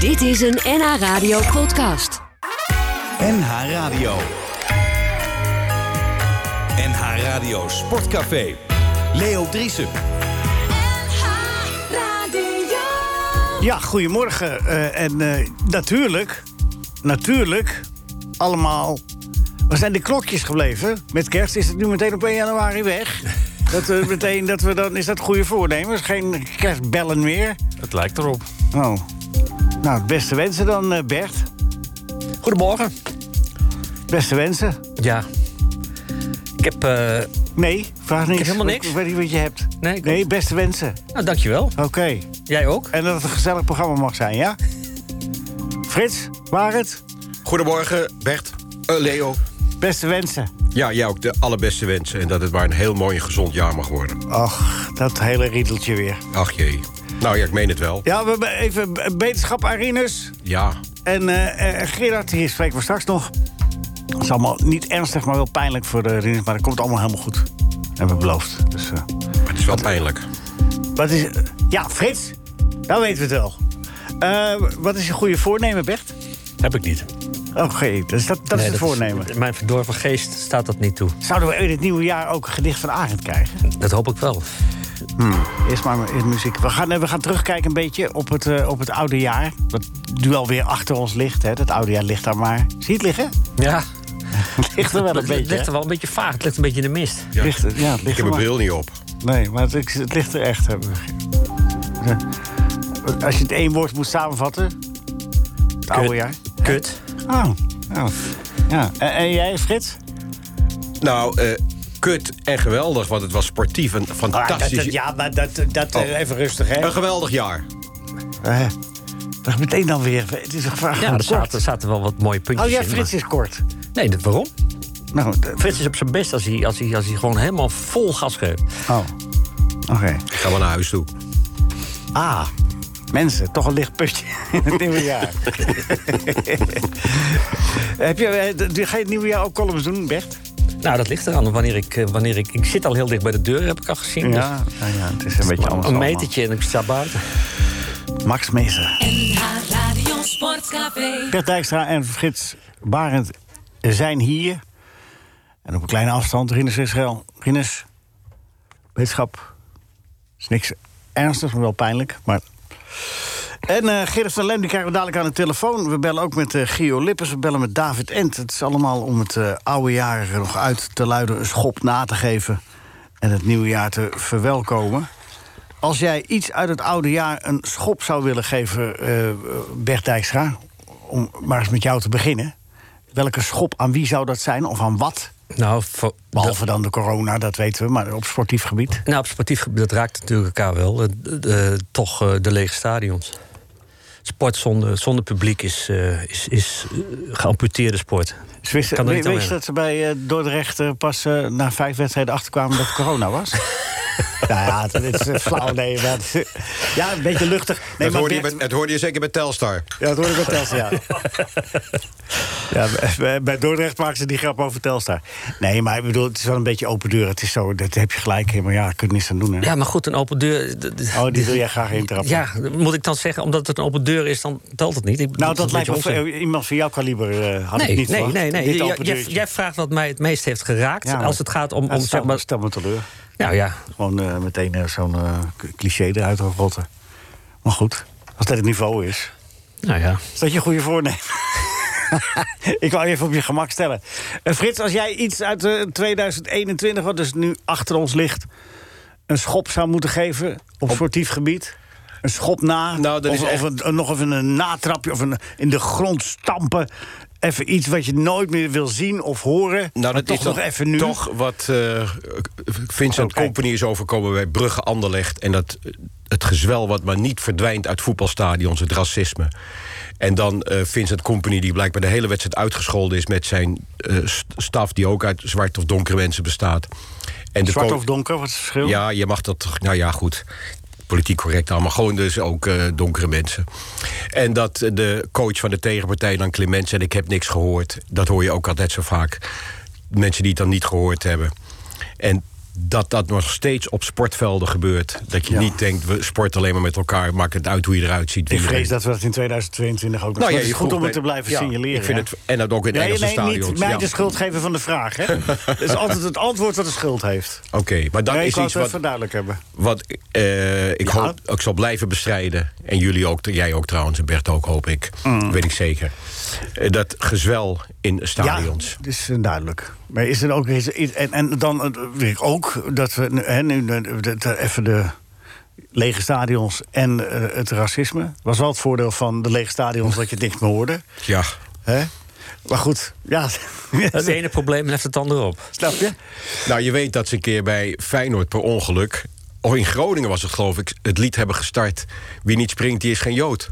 Dit is een NH Radio podcast. NH Radio. NH Radio Sportcafé. Leo Driesen. Ja, goedemorgen. Eh, en eh, natuurlijk, natuurlijk, allemaal. Waar zijn de klokjes gebleven? Met kerst is het nu meteen op 1 januari weg. Dat, eh, meteen, dat we dan, is dat goede voornemens? Geen kerstbellen meer? Het lijkt erop. Oh. Nou, het beste wensen dan, eh, Bert. Goedemorgen. Beste wensen. Ja. Ik heb... eh Nee, vraag niks. heb helemaal niks. Ik weet niet wat je hebt. Nee, ik- nee beste wensen. Nou, dankjewel. Oké. Jij ook? En dat het een gezellig programma mag zijn, ja? Frits, waar het? Goedemorgen, Bert. Eh, Leo. Beste wensen. Ja, jou ook de allerbeste wensen. En dat het maar een heel mooi en gezond jaar mag worden. Och, dat hele riedeltje weer. Ach jee. Nou ja, ik meen het wel. Ja, we hebben even b- beterschap Arinus. Ja. En eh, eh, Gerard, die spreken we straks nog. Dat is allemaal niet ernstig, maar wel pijnlijk voor de Rinus. Maar dat komt allemaal helemaal goed. Hebben we beloofd. Dus, eh, Maar het is wel pijnlijk. wat is... Ja, Frits, dan weten we het wel. Eh, wat is je goede voornemen, Bert? Heb ik niet. Oké, dus dat, dat is het voornemen. In mijn verdorven geest staat dat niet toe. Zouden we in het nieuwe jaar ook een gedicht van Arend krijgen? Dat hoop ik wel. Eerst maar eerst muziek. We gaan, eh, we gaan terugkijken een beetje op het, eh, op het oude jaar. Wat nu alweer achter ons ligt. Hè. Het oude jaar ligt daar maar. Zie je het liggen? Ja. Het ligt er wel een Het beetje. ligt er wel een beetje vaag. Het ligt een beetje in de mist. Ja, ligt, er- ja het Ik ligt heb er mijn bril maar. niet op. Nee, maar het, het ligt er echt. hè. Als je het één woord moet samenvatten. Het oude jaar. Kut. Oh, ja. ja. En, en jij, Frits? Nou, eh, kut en geweldig, want het was sportief een fantastisch... Ah, ja, maar dat, dat eh, even rustig, hè? Een geweldig jaar. Eh, dat meteen dan weer. Het is een vraag Ja, van er kort. zaten, zaten wel wat mooie puntjes Oh ja, in, Frits is kort. maar- Nee, dat, waarom? Nou, d- Frits is op zijn best als hij, als hij, als hij gewoon helemaal vol gas geeft. oh. Oké. Ik ga maar naar huis toe. Ah, mensen, toch een licht putje in het nieuwe jaar. Heb je, eh, d- ga je het nieuwe jaar ook columns doen, Bert? Nou, dat ligt eraan. Wanneer ik, eh, wanneer ik, ik zit al heel dicht bij de deur, heb ik al gezien. Dus Ja, nou ja het is een beetje anders een allemaal. metertje en ik sta buiten. Max Meester. NH Radio Sportcafé. Bert Dijkstra en Frits Barend zijn hier. En op een kleine afstand, Rinus Israël. Rinus, wetenschap is niks ernstigs, maar wel pijnlijk. Maar... En eh Gerrit van Lem, die krijgen we dadelijk aan de telefoon. We bellen ook met eh Gio Lippers, we bellen met David Ent. Het is allemaal om het eh, oude jaar er nog uit te luiden, een schop na te geven... en het nieuwe jaar te verwelkomen. Als jij iets uit het oude jaar een schop zou willen geven, eh Bert Dijkstra... om maar eens met jou te beginnen... welke schop aan wie zou dat zijn of aan wat... Nou, voor- Behalve dan de corona, dat weten we, maar op sportief gebied. Nou, op sportief gebied, dat raakt natuurlijk elkaar wel. Eh, eh, eh, toch eh, de lege stadions. Sport zonder, zonder publiek is, eh, is, is eh, geamputeerde sport. Ze wisten- Kan er we- niet weet je omheen. dat ze bij eh, Dordrecht eh, pas eh, na vijf wedstrijden achterkwamen dat het corona was? nou ja, het- dit is eh, flauw, nee. Maar het is- ja, een beetje luchtig. Nee, dat, maar hoorde je, Bert- met- dat hoorde je zeker met Telstar. Ja, dat hoor ik bij Telstar, ja. ja bij, bij Dordrecht maken ze die grap over Telstar. Nee, maar ik bedoel, het is wel een beetje open deur. Het is zo, dat heb je gelijk in, maar ja, daar kun je niks aan doen. Hè? Ja, maar goed, een open deur... d- d- Oh, die wil jij graag intrappen. Ja, moet ik dan zeggen, omdat het een open deur is, dan telt het niet. Ik- Nou, is dat een lijkt me beetje onzin. voor- iemand van jouw kaliber eh, had Nee, ik niet nee, verwacht. nee, nee. Dit Jij- open jij, deurtje. jij vraagt wat mij het meest heeft geraakt. Ja, maar- als het gaat om... Dat om stel- zeg maar, stel me teleur. nou ja, Gewoon eh, meteen eh, zo'n eh, k- cliché eruit rotten. Maar goed, als dat het niveau is. nou ja. Is dat je goede voornemen? Ik wou je even op je gemak stellen. Eh, Frits, als jij iets uit eh, 2021, wat dus nu achter ons ligt... een schop zou moeten geven op, sportief gebied... Een schop na, Nou, dat of, is echt- of een- een- nog even een natrapje, of een, in de grond stampen. Even iets wat je nooit meer wil zien of horen. maar toch dan nog even nu. Nou, Toch wat eh, Vincent Oh, kijk. Company is overkomen bij Brugge Anderlecht. En dat, eh, het gezwel wat maar niet verdwijnt uit voetbalstadions, het racisme. En dan eh, Vincent Company, die blijkbaar de hele wedstrijd uitgescholden is... met zijn eh, st- staf, die ook uit zwart of donkere mensen bestaat. En de Zwart ko- of donker, wat is het verschil? ja, je mag dat toch. Nou ja, goed. Politiek correct allemaal. Gewoon dus ook eh, donkere mensen. En dat eh, de coach van de tegenpartij dan Clement zei... ik heb niks gehoord. Dat hoor je ook altijd zo vaak. Mensen die het dan niet gehoord hebben. En dat dat nog steeds op sportvelden gebeurt. Dat je Ja. niet denkt, we sporten alleen maar met elkaar, maakt het uit hoe je eruit ziet. wie Ik je vrees bent. dat we dat in 2022 ook nog Nou ja, Het is je goed vroeg om het bij- te blijven ja, signaleren. Ik vind hè? het, en dat ook in Nee, Engelse nee, stadions. niet mij ja. de schuld geven van de vraag. Hè? Het is altijd het antwoord dat de schuld heeft. Oké, maar dat nee, ik is wou iets het even wat, duidelijk hebben. wat eh, ik, Ja. hoop, ik zal blijven bestrijden. En jullie ook, jij ook trouwens, en Bert ook, hoop ik. Weet ik zeker. Eh, dat gezwel in stadions. Ja, dat is eh, duidelijk. Maar is er ook eens iets... En, en dan eh, weet ik ook dat we nu- hè, nu eh, dat- dat even de lege stadions en eh, het racisme. Was wel het voordeel van de lege stadions dat je het niks meer hoorde. Ja. Hè? Maar goed, ja. Het ene probleem legt het andere op. Snap je? Nou, je weet dat ze een keer bij Feyenoord per ongeluk... of in Groningen was het geloof ik, het lied hebben gestart... Wie niet springt, die is geen Jood.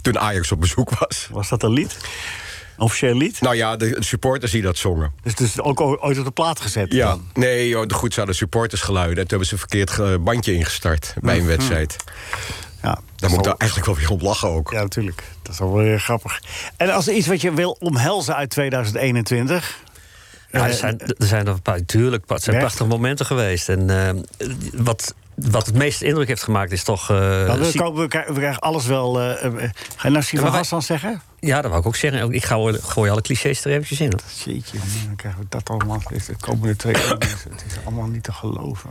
Toen Ajax op bezoek was. Was dat een lied? Een officieel lied? Nou ja, de supporters die dat zongen. Dus, dus ook o- ooit op de plaat gezet? Ja, dan? nee, joh, de goed zouden supporters geluiden. En toen hebben ze een verkeerd ge- bandje ingestart bij een wedstrijd. ja Daar moet ik daar eigenlijk wel weer om lachen ook. Ja, natuurlijk. Dat is wel weer grappig. En als er iets wat je wil omhelzen uit 2021... Ja, er, eh, zijn, er zijn er een paar, tuurlijk, het zijn Bert? prachtige momenten geweest. En eh, wat, wat het meeste indruk heeft gemaakt is toch... eh, Nou, we, Sy- kopen, we, krijgen, we krijgen alles wel. eh, eh, eh, ga je nou Sivan maar wij- Hassan zeggen? ja, dat wou ik ook zeggen. Ik ga, gooi alle clichés er eventjes in. hoor. Jeetje, man, dan krijgen we dat allemaal. Het is De komende twee uur, mensen. Het is allemaal niet te geloven.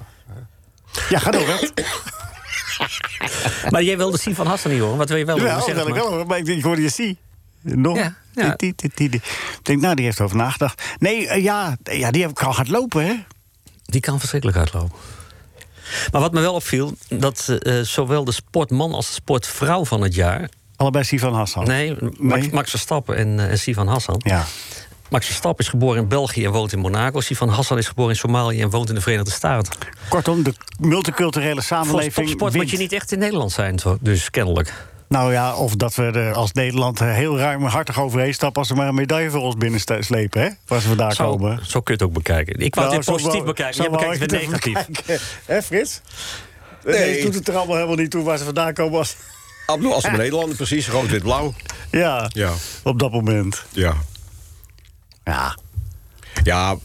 Ja, ga door, Bert. Maar jij wilde zien van Hassan niet horen. Wat wil je wel Wel, horen? Zeg wel, het ik maar. wel. hoor, Maar ik, denk, ik hoorde je zie. Nog. Ja, ja. Die, die, die, die. Ik denk, nou, die heeft over nagedacht. Nee, eh, ja, eh, ja, die heb ik al hard lopen, hè? Die kan verschrikkelijk hardlopen. Maar wat me wel opviel, dat eh, zowel de sportman als de sportvrouw van het jaar... Allebei Sivan Hassan. Nee, Max, Oh, Nee. Max Verstappen en, eh, en Sivan Hassan. Ja. Max Verstappen is geboren in België en woont in Monaco. Sivan Hassan is geboren in Somalië en woont in de Verenigde Staten. Kortom, de multiculturele Voor samenleving. topsport wint. moet je niet echt in Nederland zijn, zo- dus kennelijk. Nou ja, of dat we er als Nederland eh, heel ruimhartig overheen stappen... als ze maar een medaille voor ons binnenslepen, hè? Waar ze vandaan Zo, komen. zo kun je het ook bekijken. Ik wou Nou, dit zo positief wou- bekijken, zo jij wou bekijkt het weer ik even negatief. bekijken. Hè, Frits? Nee. het doet het er allemaal helemaal niet toe waar ze vandaan komen. Als... Abdul, als een Nederlander, precies, rood, wit, blauw. Ja, Ja. op dat moment. Ja. Ja. Ja,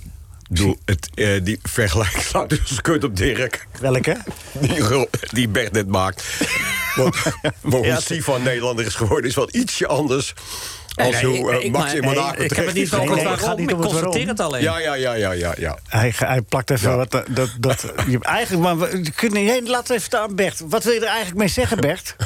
doe het, eh, die vergelijking slaat dus kut op Dirk. Welke? Die, ro- die Bert net maakt. Want, want hoe Stefan Nederlander is geworden is wel ietsje anders... Nee, als nee, hoe ik- eh, ik- Max maar- in nee, Monaco Ik heb terecht het niet is over gekomen. het Nee, nee, het gaat waarom, niet ik om het constateer het alleen. Ja, ja, ja, ja, ja, ja. Hij, hij plakt even Ja. wat... eh, Dat, dat, je, eigenlijk, maar we- je kunt niet heen. Laat het even aan Bert. Wat wil je er eigenlijk mee zeggen, Bert?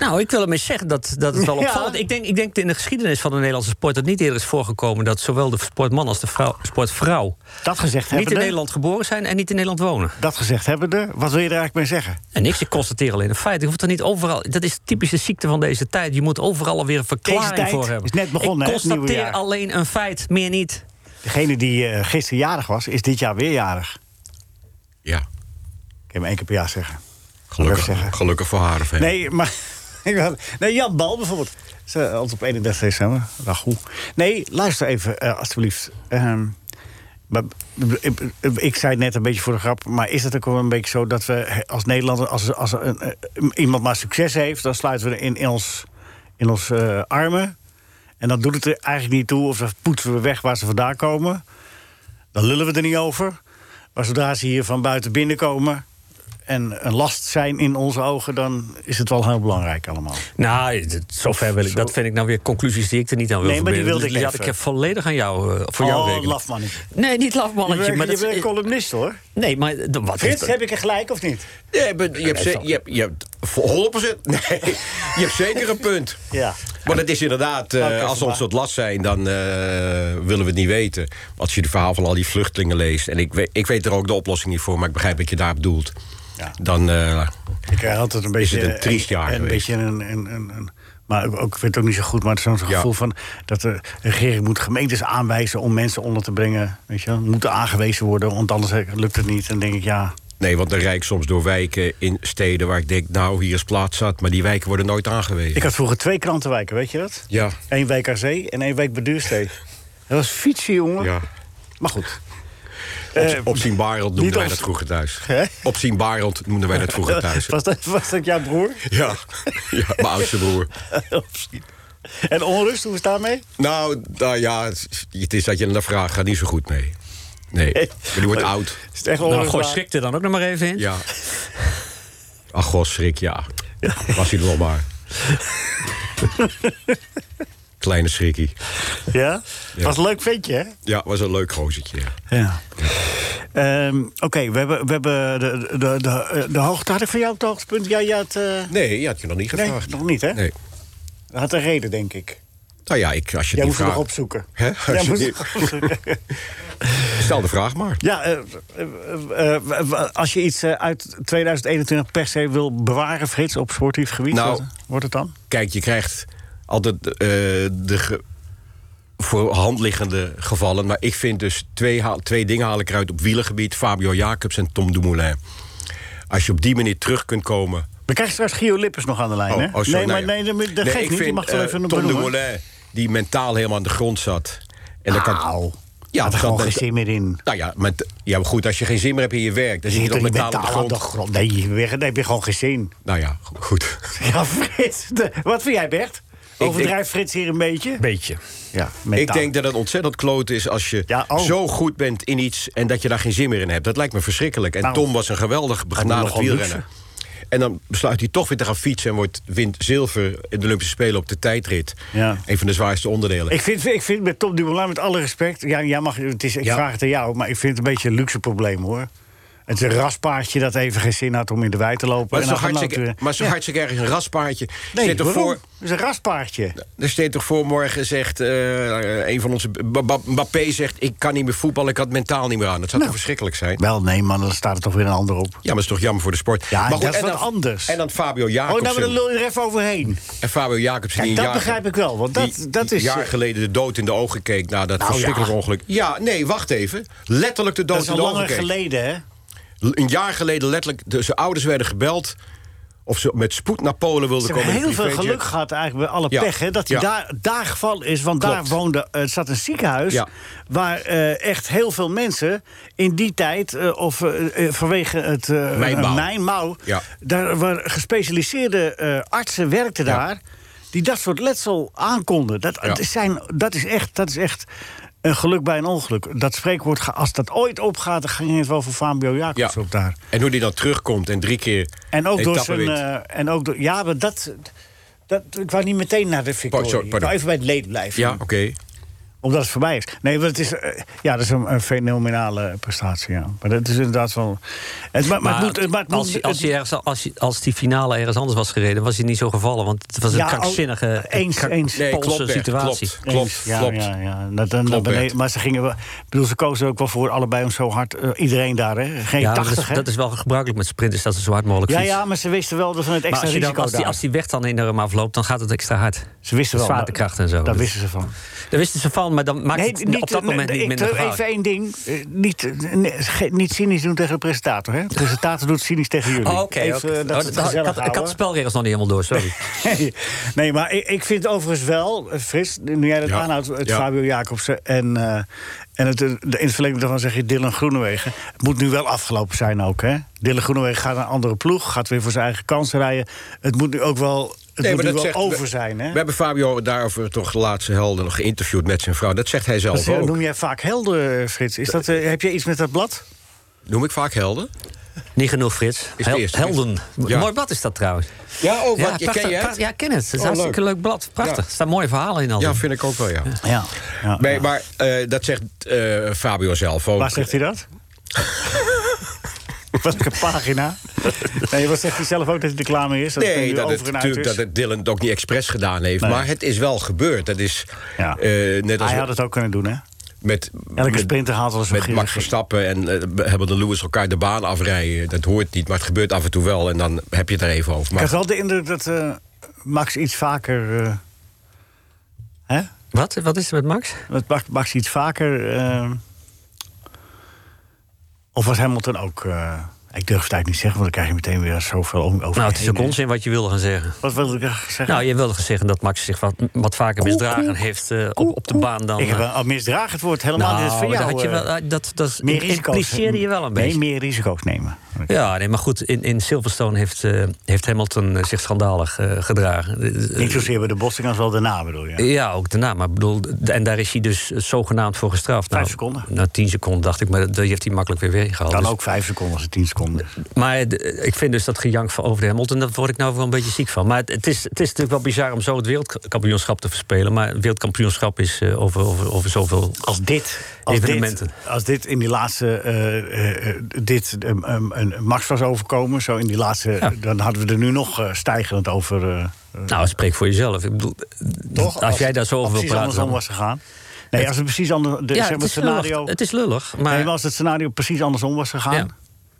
Nou, ik wil ermee zeggen dat, dat het wel Ja. opvallend Ik denk, ik denk in de geschiedenis van de Nederlandse sport... dat niet eerder is voorgekomen dat zowel de sportman als de vrouw, sportvrouw... Dat gezegd niet in hebbende... Nederland geboren zijn en niet in Nederland wonen. Dat gezegd hebbende, wat wil je er eigenlijk mee zeggen? En niks, ik constateer alleen een feit. Ik hoef er niet overal. Dat is de typische ziekte van deze tijd. Je moet overal alweer een verklaring tijd voor hebben. is net begonnen, ik hè, het nieuwe constateer jaar. alleen een feit, meer niet. Degene die eh gisteren jarig was, is dit jaar weer jarig. Ja, Ik heb hem één keer per jaar zeggen. Wil ik gelukkig, zeggen. gelukkig voor haar of hem. Nee, maar. ik had- nee, Jan Bal bijvoorbeeld. Ze eh, altijd op 31 december. Ragoe. Nee, luister even, eh, alstublieft. Ehm, maar, ik, ik- ik zei het net een beetje voor de grap, maar is het ook wel een beetje zo dat we als Nederlander, als, als een, eh, iemand maar succes heeft, dan sluiten we er in, in ons, in ons eh, armen. En dan doet het er eigenlijk niet toe, of dan poetsen we weg waar ze vandaan komen. Dan lullen we er niet over. Maar zodra ze hier van buiten binnenkomen en een last zijn in onze ogen, dan is het wel heel belangrijk allemaal. Nou, dat- zover wil ik. Dat vind ik nou weer conclusies die ik er niet aan wil Nee, maar die verbinden. wilde ik Dus even. laat ik volledig aan jou, eh, voor jou oh, rekenen. lafmannetje. Nee, niet Je lafmannetje. bent, maar je dat- bent columnist hoor. nee, maar de- wat is Frits, dat? heb ik er gelijk of niet? Ja, maar je, hebt, ze- je, hebt, je hebt voor 100%. Nee, je hebt zeker een punt. Ja. Maar het is inderdaad, eh, Dank even als we ons maar. tot last zijn, dan eh, willen we het niet weten. Als je het verhaal van al die vluchtelingen leest, en ik weet, ik weet er ook de oplossing niet voor, maar ik begrijp dat je daarop doelt. Ja. Dan, eh, Ik krijg altijd een beetje... het een triest jaar Een, een geweest? beetje een... een, een, een- maar ook, ook- ik weet het ook niet zo goed, maar het is zo'n Ja. gevoel van... dat de regering moet gemeentes aanwijzen om mensen onder te brengen. Weet je, wel. moeten aangewezen worden, want anders lukt het niet. En dan denk ik, ja... nee, want dan rijd ik soms door wijken in steden waar ik denk, nou, hier is plaats zat, maar die wijken worden nooit aangewezen. Ik had vroeger twee krantenwijken, weet je dat? Ja. Eén week aan zee en één week bij Duurstee. Dat was fietsen, jongen. Ja. Maar goed. Eh, Op, opzien Barend noemden niet wij op- dat vroeger thuis. Hè? Opzien Barend noemden wij dat vroeger thuis. Was dat, was dat jouw broer? Ja, ja, mijn oudste broer. en onrust, hoe is het daarmee? Nou, nou ja, het is- het is dat je naar vraagt, gaat niet zo goed mee. Nee, maar die wordt oud. Is het echt Nou, gooi onrustbaar? schrik er dan ook nog maar even in. Ja. Ach, god, schrik, ja. Was hij er wel maar. Kleine schrikkie. Ja? Was een leuk ventje, hè? Ja, was een leuk gozertje. ja. Ja. Ehm, Oké, we hebben, we hebben de, de, de, de, de hoogte. Had ik van jou het hoogtepunt? Ja, je had, eh, Nee, je had je nog niet nee, gevraagd. nog niet, hè? Nee. Had een reden, denk ik. Nou ja, ik, als je Jij het niet moest het nog vraagt... opzoeken. Hè? Als Jij je moest niet- het nog opzoeken. Stel de vraag maar. Ja, eh, eh, eh, eh, eh, als je iets eh, uit 2021 per se wil bewaren, Frits, op sportief gebied, Nou. wat wordt het dan? Kijk, je krijgt altijd eh, de ge- voor hand liggende gevallen. Maar ik vind dus twee, haal- twee dingen haal ik eruit op wielergebied. Fabio Jacobs en Tom Dumoulin. Als je op die manier terug kunt komen... We krijgen straks Gio Lippers nog aan de lijn, Oh, hè? oh, sorry, nee, nou maar ja. nee, dat, moet- dat Nee, geeft ik niet. Je vind, mag het wel eh, even Tom benoemen. Dumoulin, die mentaal helemaal aan de grond zat. En dan Auw. Ja, Had er dat gewoon kan- geen zin meer in. Nou ja, met, ja, maar goed, als je geen zin meer hebt in je werk... dan zit je Zit dan er niet mentaal aan de mentaal aan grond. de grond. Nee, je- nee, heb je gewoon geen zin. Nou ja, go- goed. Ja, Frits. de- wat vind jij, Bert? Overdrijft Frits hier een beetje? Beetje. Ja, Ik denk dat het ontzettend kloot is als je Ja, oh. zo goed bent in iets... en dat je daar geen zin meer in hebt. Dat lijkt me verschrikkelijk. En Nou, Tom was een geweldig begnadigd nogal wielrenner. En dan besluit hij toch weer te gaan fietsen... en wordt, wint zilver in de Olympische Spelen op de tijdrit. Ja. Een van de zwaarste onderdelen. Ik vind, ik vind met Tom Dumoulin, met alle respect... Ja, jij mag, het is, ik Ja. vraag het aan jou, maar ik vind het een beetje een luxe probleem, hoor. Het is een raspaardje dat even geen zin had om in de wei te lopen. maar en zo, dan gaan hartstikke, lopen we- maar zo Ja. hartstikke erg is een raspaardje. Nee, Zit er waarom? voor, Het is een raspaardje. Er steekt toch voor morgen zegt eh, een van onze. B- B- Mbappé zegt: Ik kan niet meer voetballen, ik had het mentaal niet meer aan. Dat Nou. zou toch verschrikkelijk zijn? Wel, nee, man, dan staat er toch weer een ander op. Ja, maar dat is toch jammer voor de sport. Ja, maar dat is en wat anders. En dan Fabio Oh, Jacobsen. nou, maar dan lul je er even overheen. En Fabio Jacobsen Kijk, die dat een jaar, begrijp ik wel, want dat- die- dat die is- eh, een jaar geleden de dood in de ogen keek na dat Nou verschrikkelijk ja. ongeluk. Ja, nee, wacht even. Letterlijk de dood Dat is in al de ogen langer keek. geleden, hè? Een jaar geleden letterlijk. De, zijn ouders werden gebeld. Of ze met spoed naar Polen wilden Ze komen. hebben in heel een veel privéjet. geluk gehad eigenlijk bij alle Ja. pech. Hè, dat hij Ja. daar, daar gevallen is. Want daar Klopt. woonde, eh, het zat een ziekenhuis... Ja. waar eh, echt heel veel mensen in die tijd... eh, of eh, eh, vanwege het eh, Mijnbouw. mijnbouw, Ja. daar waren gespecialiseerde eh, artsen werkten Ja. daar... die dat soort letsel aankonden. Dat, Ja. het zijn, dat, is, echt, dat is echt een geluk bij een ongeluk. Dat spreekwoord, ga- als dat ooit opgaat... dan ging het wel voor Fabio Jacobs op daar. En hoe die dan terugkomt en drie keer. En ook door etappe zijn. wint. eh, en ook door, ja, maar dat, dat. Ik wou niet meteen naar de victorie. Oh, sorry, ik pardon. wou even bij het leed blijven. Ja, oké. Omdat het voorbij is. Nee, want het is. eh, ja, dat is een, een fenomenale prestatie. Ja. Maar dat is inderdaad wel. Het, maar, maar, het moet. het- Maar, het als, hij- moet- als, het- hij ergens, als, hij- als die finale ergens anders was gereden, was hij niet zo gevallen. Want het was een Ja, oh, krankzinnige eens, krak- eens. Nee, Poolse klopt, Bert, situatie. klopt. Klopt, ja, klopt. Ja, ja. Dat, dan- Klopt, beneden- Bert. maar ze gingen wel. Ik bedoel, ze kozen ook wel voor allebei om zo hard. eh, iedereen daar, hè? Geen Ja, 80, dat, hè? is, dat is wel gebruikelijk met sprinters, dat ze zo hard mogelijk ja, fietsen. ja, maar ze wisten wel van het maar extra als, je dan, risico als, die, daar. als die weg dan in de rem afloopt, dan gaat het extra hard. ze wisten wel. zwaartekracht en zo. Dus- Daar Dat- wisten ze van. Daar wisten ze van, maar dan maakt het op dat nee, eh, moment nee, niet ik- minder Even gevaarlijk. één ding. Eh, niet, eh, nee, ge- niet cynisch doen tegen de presentator. Hè? De presentator doet cynisch tegen jullie. Oh, oké. Even, oké. eh, Oh, dat we dat- het dat- gezellig ik had- ik had de houden. spelregels nog niet helemaal door, sorry. nee, maar ik, ik vind overigens wel, eh, Frits, nu jij dat Ja. aanhoudt, het Ja. Fabio Jacobsen en, eh, en het, eh, de, in het verlengde daarvan zeg je Dylan Groenewegen. Het moet nu wel afgelopen zijn ook, hè? Dylan Groenewegen gaat naar een andere ploeg, gaat weer voor zijn eigen kans rijden. Het moet nu ook wel, het moet nu wel over zijn, We, hè? we hebben Fabio daarover toch de laatste helden nog geïnterviewd met zijn vrouw. Dat zegt hij zelf Dat ook. noem jij vaak helder, Frits. Is dat, eh, heb je iets met dat blad? Noem ik vaak helden? Niet genoeg, Frits. de Hel- eerste. Helden. Ja. Mooi blad is dat trouwens. Ja, oh, wat, je prachtig, ken je het? prachtig. ja, ik ken het. Het is een Oh, hartstikke leuk. blad. Prachtig. Ja. Er staan mooie verhalen in al. Ja, vind ik ook wel, ja. Ja. ja. Nee, maar eh, dat zegt eh, Fabio zelf ook. Waar zegt hij dat? Welke pagina? Nee, wat zegt hij zelf ook dat hij er klaar mee is? Dat het Nee, nu dat over het, en uit natuurlijk is? dat het Dylan het ook niet expres gedaan heeft. Nee. Maar het is wel gebeurd. Dat is Ja. eh, net als Hij had het ook kunnen doen, hè? met, Elke met, sprinter haalt wel eens een met Max gierigheid. Verstappen en eh, hebben de Lewis elkaar de baan afrijden. Dat hoort niet, maar het gebeurt af en toe wel. En dan heb je het er even over. Ik Maar had wel de indruk dat eh, Max iets vaker... eh, hè? Wat? Wat is er met Max? Dat Max, Max iets vaker... eh, of was Hamilton ook... eh, ik durf het eigenlijk niet zeggen, want dan krijg je meteen weer zoveel om- over Nou, je het is heen, ook hè? onzin wat je wilde gaan zeggen. Wat wilde ik eigenlijk zeggen? Nou, je wilde gaan zeggen dat Max zich wat, wat vaker misdragen heeft eh, op, op de baan dan... ik heb eh, een al misdraagd woord, helemaal nou, niet. Dat is van dat jou, had je eh, wel, dat, dat meer risico's. impliceerde je wel een nee, beetje. meer risico's nemen. Ja, nee, maar goed, in, in Silverstone heeft, eh, heeft Hamilton eh, zich schandalig eh, gedragen. Eh, Niet zozeer bij de botsing als wel daarna, bedoel je? Ja, ook daarna. Maar ik bedoel, d- en daar is hij dus zogenaamd voor gestraft. Vijf Nou, seconden. Na tien seconden dacht ik, maar dat, die heeft hij makkelijk weer weggehaald. Dan Dus- ook vijf seconden als het tien seconden is. Maar d- ik vind dus dat gejank van over de Hamilton, daar word ik nou wel een beetje ziek van. Maar het, het is, het is natuurlijk wel bizar om zo het wereldkampioenschap te verspelen. Maar het wereldkampioenschap is eh, over, over, over zoveel. Als dit, als dit, Evenementen. als dit in die laatste, eh, eh, eh, dit ehm, ehm, een Max was overkomen, zo in die laatste, dan hadden we er nu nog eh, stijgend over. eh, Nou, spreek voor jezelf. Ik bedoel, d- toch? als, jij daar zo over wil precies praten. andersom dan- was gegaan. Nee, als het precies anders, de, ja, zeg maar, het, is het lullig, scenario, het is lullig. Maar, nee, maar als het scenario precies andersom was gegaan, Ja.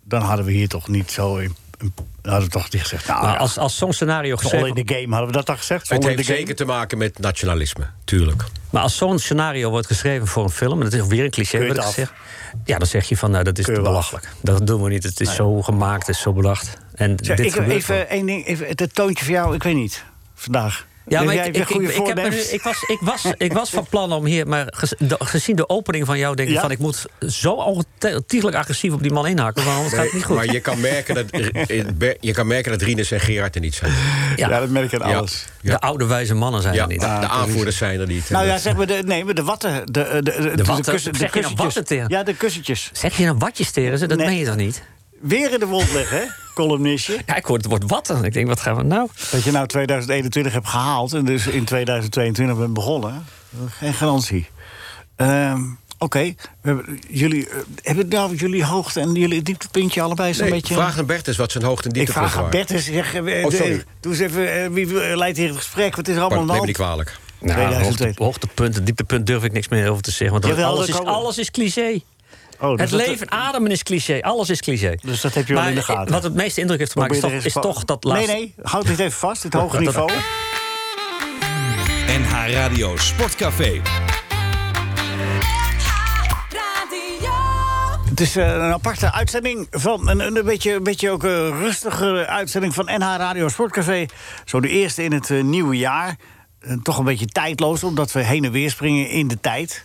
dan hadden we hier toch niet zo, in, in- dan hadden we toch niet gezegd. Nou, maar ja, als, als zo'n scenario all gezegd in the game hadden we dat dan gezegd? Het All in heeft the game? zeker te maken met nationalisme, tuurlijk. Maar als zo'n scenario wordt geschreven voor een film, en dat is weer een cliché Keur je wat ik het af? zeg. Ja, dan zeg je van nou dat is Keur te wel af. belachelijk. Dat doen we niet. Het is zo gemaakt, het is zo bedacht. En Zeg, dit ik heb gebeurt wel. even één ding, even, het het toontje voor jou, ik weet niet, vandaag. Ja, Heb maar jij ik, weer ik, goede ik, ik, heb me nu- voornemens? ik, was, ik, was, ik was van plan om hier, maar gez- de- gezien de opening van jou, denk ik Ja? van ik moet zo ontiegelijk agressief op die man inhaken, want anders gaat het niet goed. Maar je kan merken dat, je kan merken dat Rinus en Gerard er niet zijn. ja. Ja, dat merk je aan Ja. alles. De oude wijze mannen zijn Ja, er de, niet. de aanvoerders zijn er niet. Nou ja, zeg maar, de, nee, maar de watten. De, de, de, watten? kussen- de Zeg je nou kussentjes. watten tegen? Ja, de kussentjes. Zeg je nou watjes tegen ze? Dat Nee. meen je toch niet? Weer in de wond leggen, hè, columnistje. Ja, ik hoor het woord watten. Ik denk, wat gaan we nou? Dat je nou 2021 hebt gehaald en dus in 2022 bent begonnen. Geen garantie. Ehm, Oké, we hebben- jullie, eh, hebben nou jullie hoogte en jullie dieptepuntje allebei zo'n Nee, beetje... vraag aan Bert eens wat zijn hoogte en ik dieptepunten vraag aan waren. Bert eens, zeg, eh, Oh, de- sorry. doe eens even, eh, wie eh, leidt hier het gesprek? Wat is er allemaal aan Pardon, de neem me niet hand? kwalijk. Nou, 2002. hoogte, hoogtepunt, dieptepunt durf ik niks meer over te zeggen. Want Jawel, alles, dat is, kan wel. alles is cliché. Oh, dus het dat- leven, ademen is cliché. Alles is cliché. Dus dat heb je wel Maar in de gaten. Wat het meeste indruk heeft gemaakt is toch, probeer er is eens van- toch dat laatste... Nee, nee, houd dit even vast, dit hoge Dat- dat- niveau. NH Radio Sportcafé. Het is eh, een aparte uitzending van een, een beetje, een beetje ook eh, rustige uitzending van NH Radio Sportcafé. Zo de eerste in het eh, nieuwe jaar. Eh, toch een beetje tijdloos, omdat we heen en weer springen in de tijd.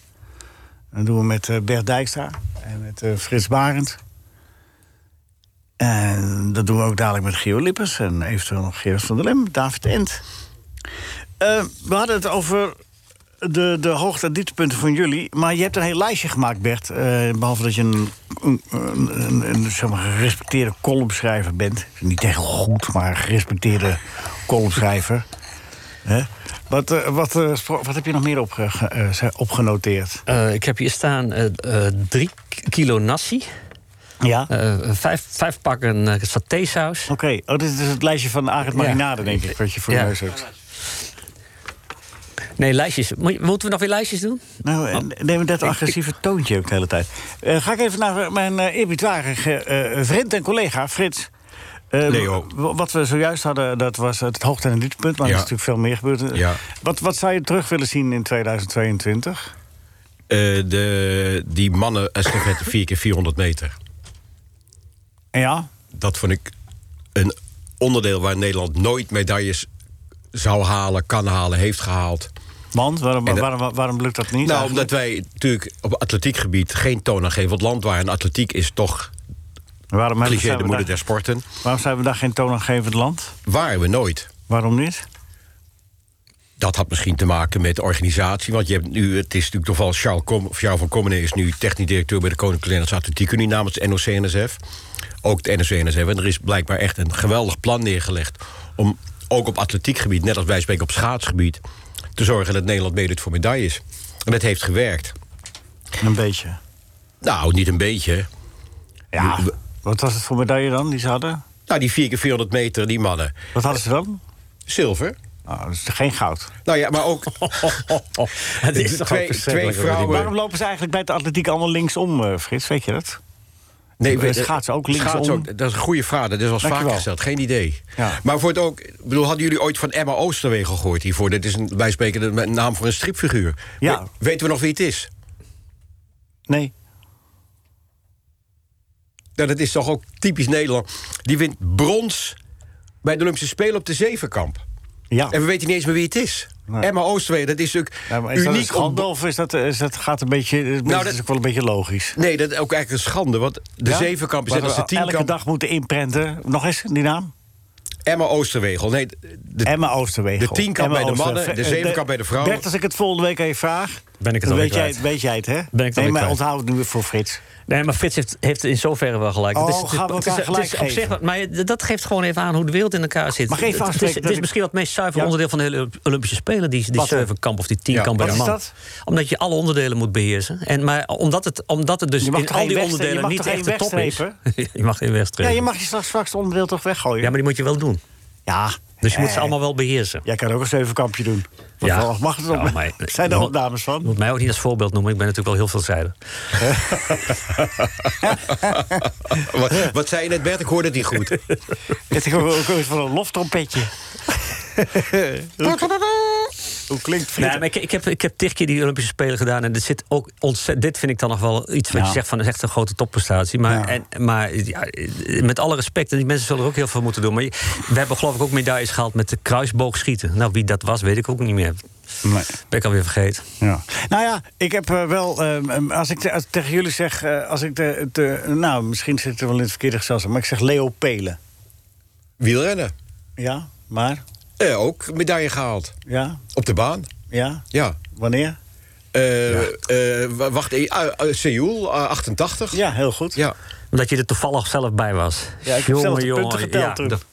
Dat doen we met eh, Bert Dijkstra en met eh, Frits Barend. En dat doen we ook dadelijk met Geo Lippers en eventueel nog Gerard van der Lem, David Ent. Eh, we hadden het over de, de hoogte- en dieptepunten van jullie. Maar je hebt een heel lijstje gemaakt, Bert. Eh, behalve dat je een, een, een- een, zeg maar, gerespecteerde columnschrijver bent. Niet echt goed, maar een gerespecteerde columnschrijver. Hè? Wat, eh, wat, eh, spro- wat heb je nog meer opge, ge- eh, ze- opgenoteerd? Eh, ik heb hier staan eh, eh, drie kilo nasi. Ja? Oké, eh, vijf, vijf pakken eh, satésaus. oh, dit is het lijstje van Arend Ja. Marinade, denk ik, wat je voor je Ja. neus hebt. Nee, lijstjes. Moet je- Moeten we nog weer lijstjes doen? Nou, eh, neem dat agressieve toontje ook de hele tijd. Eh, ga ik even naar mijn eh, eerbiedwaardige eh, vriend en collega Frits. Eh, Leo. w- Wat we zojuist hadden, dat was het hoogte- en dieptepunt. Maar Ja. er is natuurlijk veel meer gebeurd. Eh, Ja. Wat, wat zou je terug willen zien in 2022? Eh, de, die mannen estafette 4 keer 400 meter. Ja, Dat vond ik een onderdeel waar Nederland nooit medailles zou halen, kan halen, heeft gehaald. want waarom, En dat- waarom, waarom lukt dat niet? Nou, omdat eigenlijk? wij natuurlijk op atletiekgebied geen toonaangevend land waren. En atletiek is toch waarom, hebben- cliché zijn de we moeder daar, der sporten. waarom zijn we daar geen toonaangevend land? Waren we nooit. Waarom niet? Dat had misschien te maken met de organisatie. Want je hebt nu, het is natuurlijk toch wel Charles, Com, of Charles van Commenen is nu technisch directeur bij de Koninklijke Nederlandse Atletiek Unie namens de NOC-NSF. Ook de NOC-NSF. En er is blijkbaar echt een geweldig plan neergelegd om ook op atletiekgebied, net als wij spreken op schaatsgebied, te zorgen dat Nederland meedoet voor medailles. En dat heeft gewerkt. Een beetje. Nou, niet een beetje. Ja. we- Wat was het voor medaille dan die ze hadden? Nou, die 4 keer 400 meter, die mannen. Wat hadden ze dan? Zilver. Oh, dat is geen goud. Nou ja, maar ook het is toch ook verschrikkelijk, hoor, die man. Waarom lopen ze eigenlijk bij de atletiek allemaal linksom, eh, Frits? Weet je dat? Nee, we- Eh, Schaatsen ook linksom. schaatsen ook. dat is een goede vraag. Dat is wel eens vaak Dankjewel. gesteld. Geen idee. Ja. Maar voor het ook, ik bedoel, hadden jullie ooit van Emma Oosterwegen gehoord hiervoor? Dit is een, wij spreken de een naam voor een stripfiguur. Ja. We- weten we nog wie het is? Nee. Nou, dat is toch ook typisch Nederland. Die wint brons bij de Olympische Spelen op de Zevenkamp. Ja. En we weten niet eens meer wie het is. Nee. Emma Oostwee, dat is natuurlijk Ja, maar is dat een uniek. schande om- of is dat, is dat gaat een beetje... Nou, dat dat- is ook wel een beetje logisch. Nee, dat is ook eigenlijk een schande. Want de Ja? zevenkamp is Wat net als we de tienkamp. Elke dag moeten inprenten. Nog eens, die naam? Emma Oosterwegel. Nee, de, Emma Oosterwegel. de tienkamp Emma bij de mannen, Oosterwege- de zevenkamp bij de vrouwen. Bert, als ik het volgende week even vraag... Ben ik het dan alweer weet jij, kwijt. weet jij het, hè? alweer nee, maar kwijt. onthoud het nu weer voor Frits. Nee, maar Frits heeft, heeft in zoverre wel gelijk. Oh, Het gaan we het elkaar het gelijk is op zich geven? wat- maar je- dat geeft gewoon even aan hoe de wereld in elkaar zit. Mag ik even Het- het, afspreken is, het dat is ik- misschien wat meest zuiver Ja. onderdeel van de hele Olympische Spelen... die, die Wat dan? zevenkamp of die tienkamp Ja. bij de Wat man. is Omdat je alle onderdelen moet beheersen. En, maar omdat het, omdat het dus Je mag in toch al geen die wegste- je onderdelen niet mag toch echt de geen top is... wegstrepen? je mag geen Ja, wegstrepen. je mag je straks, straks het onderdeel toch weggooien. Ja, maar die moet je wel doen. Ja. Dus je moet Eh, ze allemaal wel beheersen. Jij kan ook een zevenkampje doen. Want Ja. Mag het Ja, op? maar- Zijn er opnames van? Je moet mij ook niet als voorbeeld noemen. Ik ben natuurlijk wel heel veelzijdig. Wat, wat zei je net, Bert? Ik hoorde het niet goed. Het is gewoon ook iets van een loftrompetje. hoe, hoe klinkt Frits? Nee, maar ik, ik, heb, ik heb tig keer die Olympische Spelen gedaan. En dit, zit ook ontzett- dit vind ik dan nog wel iets wat Ja. je zegt van dat is echt een grote topprestatie. Maar, Ja. en, maar ja, met alle respect, en die mensen zullen er ook heel veel moeten doen. Maar je- we hebben geloof ik ook medailles gehaald met de kruisboogschieten. Nou, wie dat was, weet ik ook niet meer. Nee. Ben ik alweer vergeten. Ja. Nou ja, ik heb eh, wel. ehm, ehm, als ik te- als- tegen jullie zeg. eh, als ik de, de- nou, misschien zit er wel in het verkeerde gezelschap. Maar ik zeg Leo Pelen. Wielrennen. Ja, maar. Eh, ook medaille gehaald. Ja, Op de baan. ja. Ja. Wanneer? Eh, eh, wa- wacht, eh, ah, eh, Seoul, eh, 88. Ja, Dus heel goed. Ja. Omdat je er toevallig zelf bij was. Ja, ik heb zelf de punten geteld ja, toen. dat-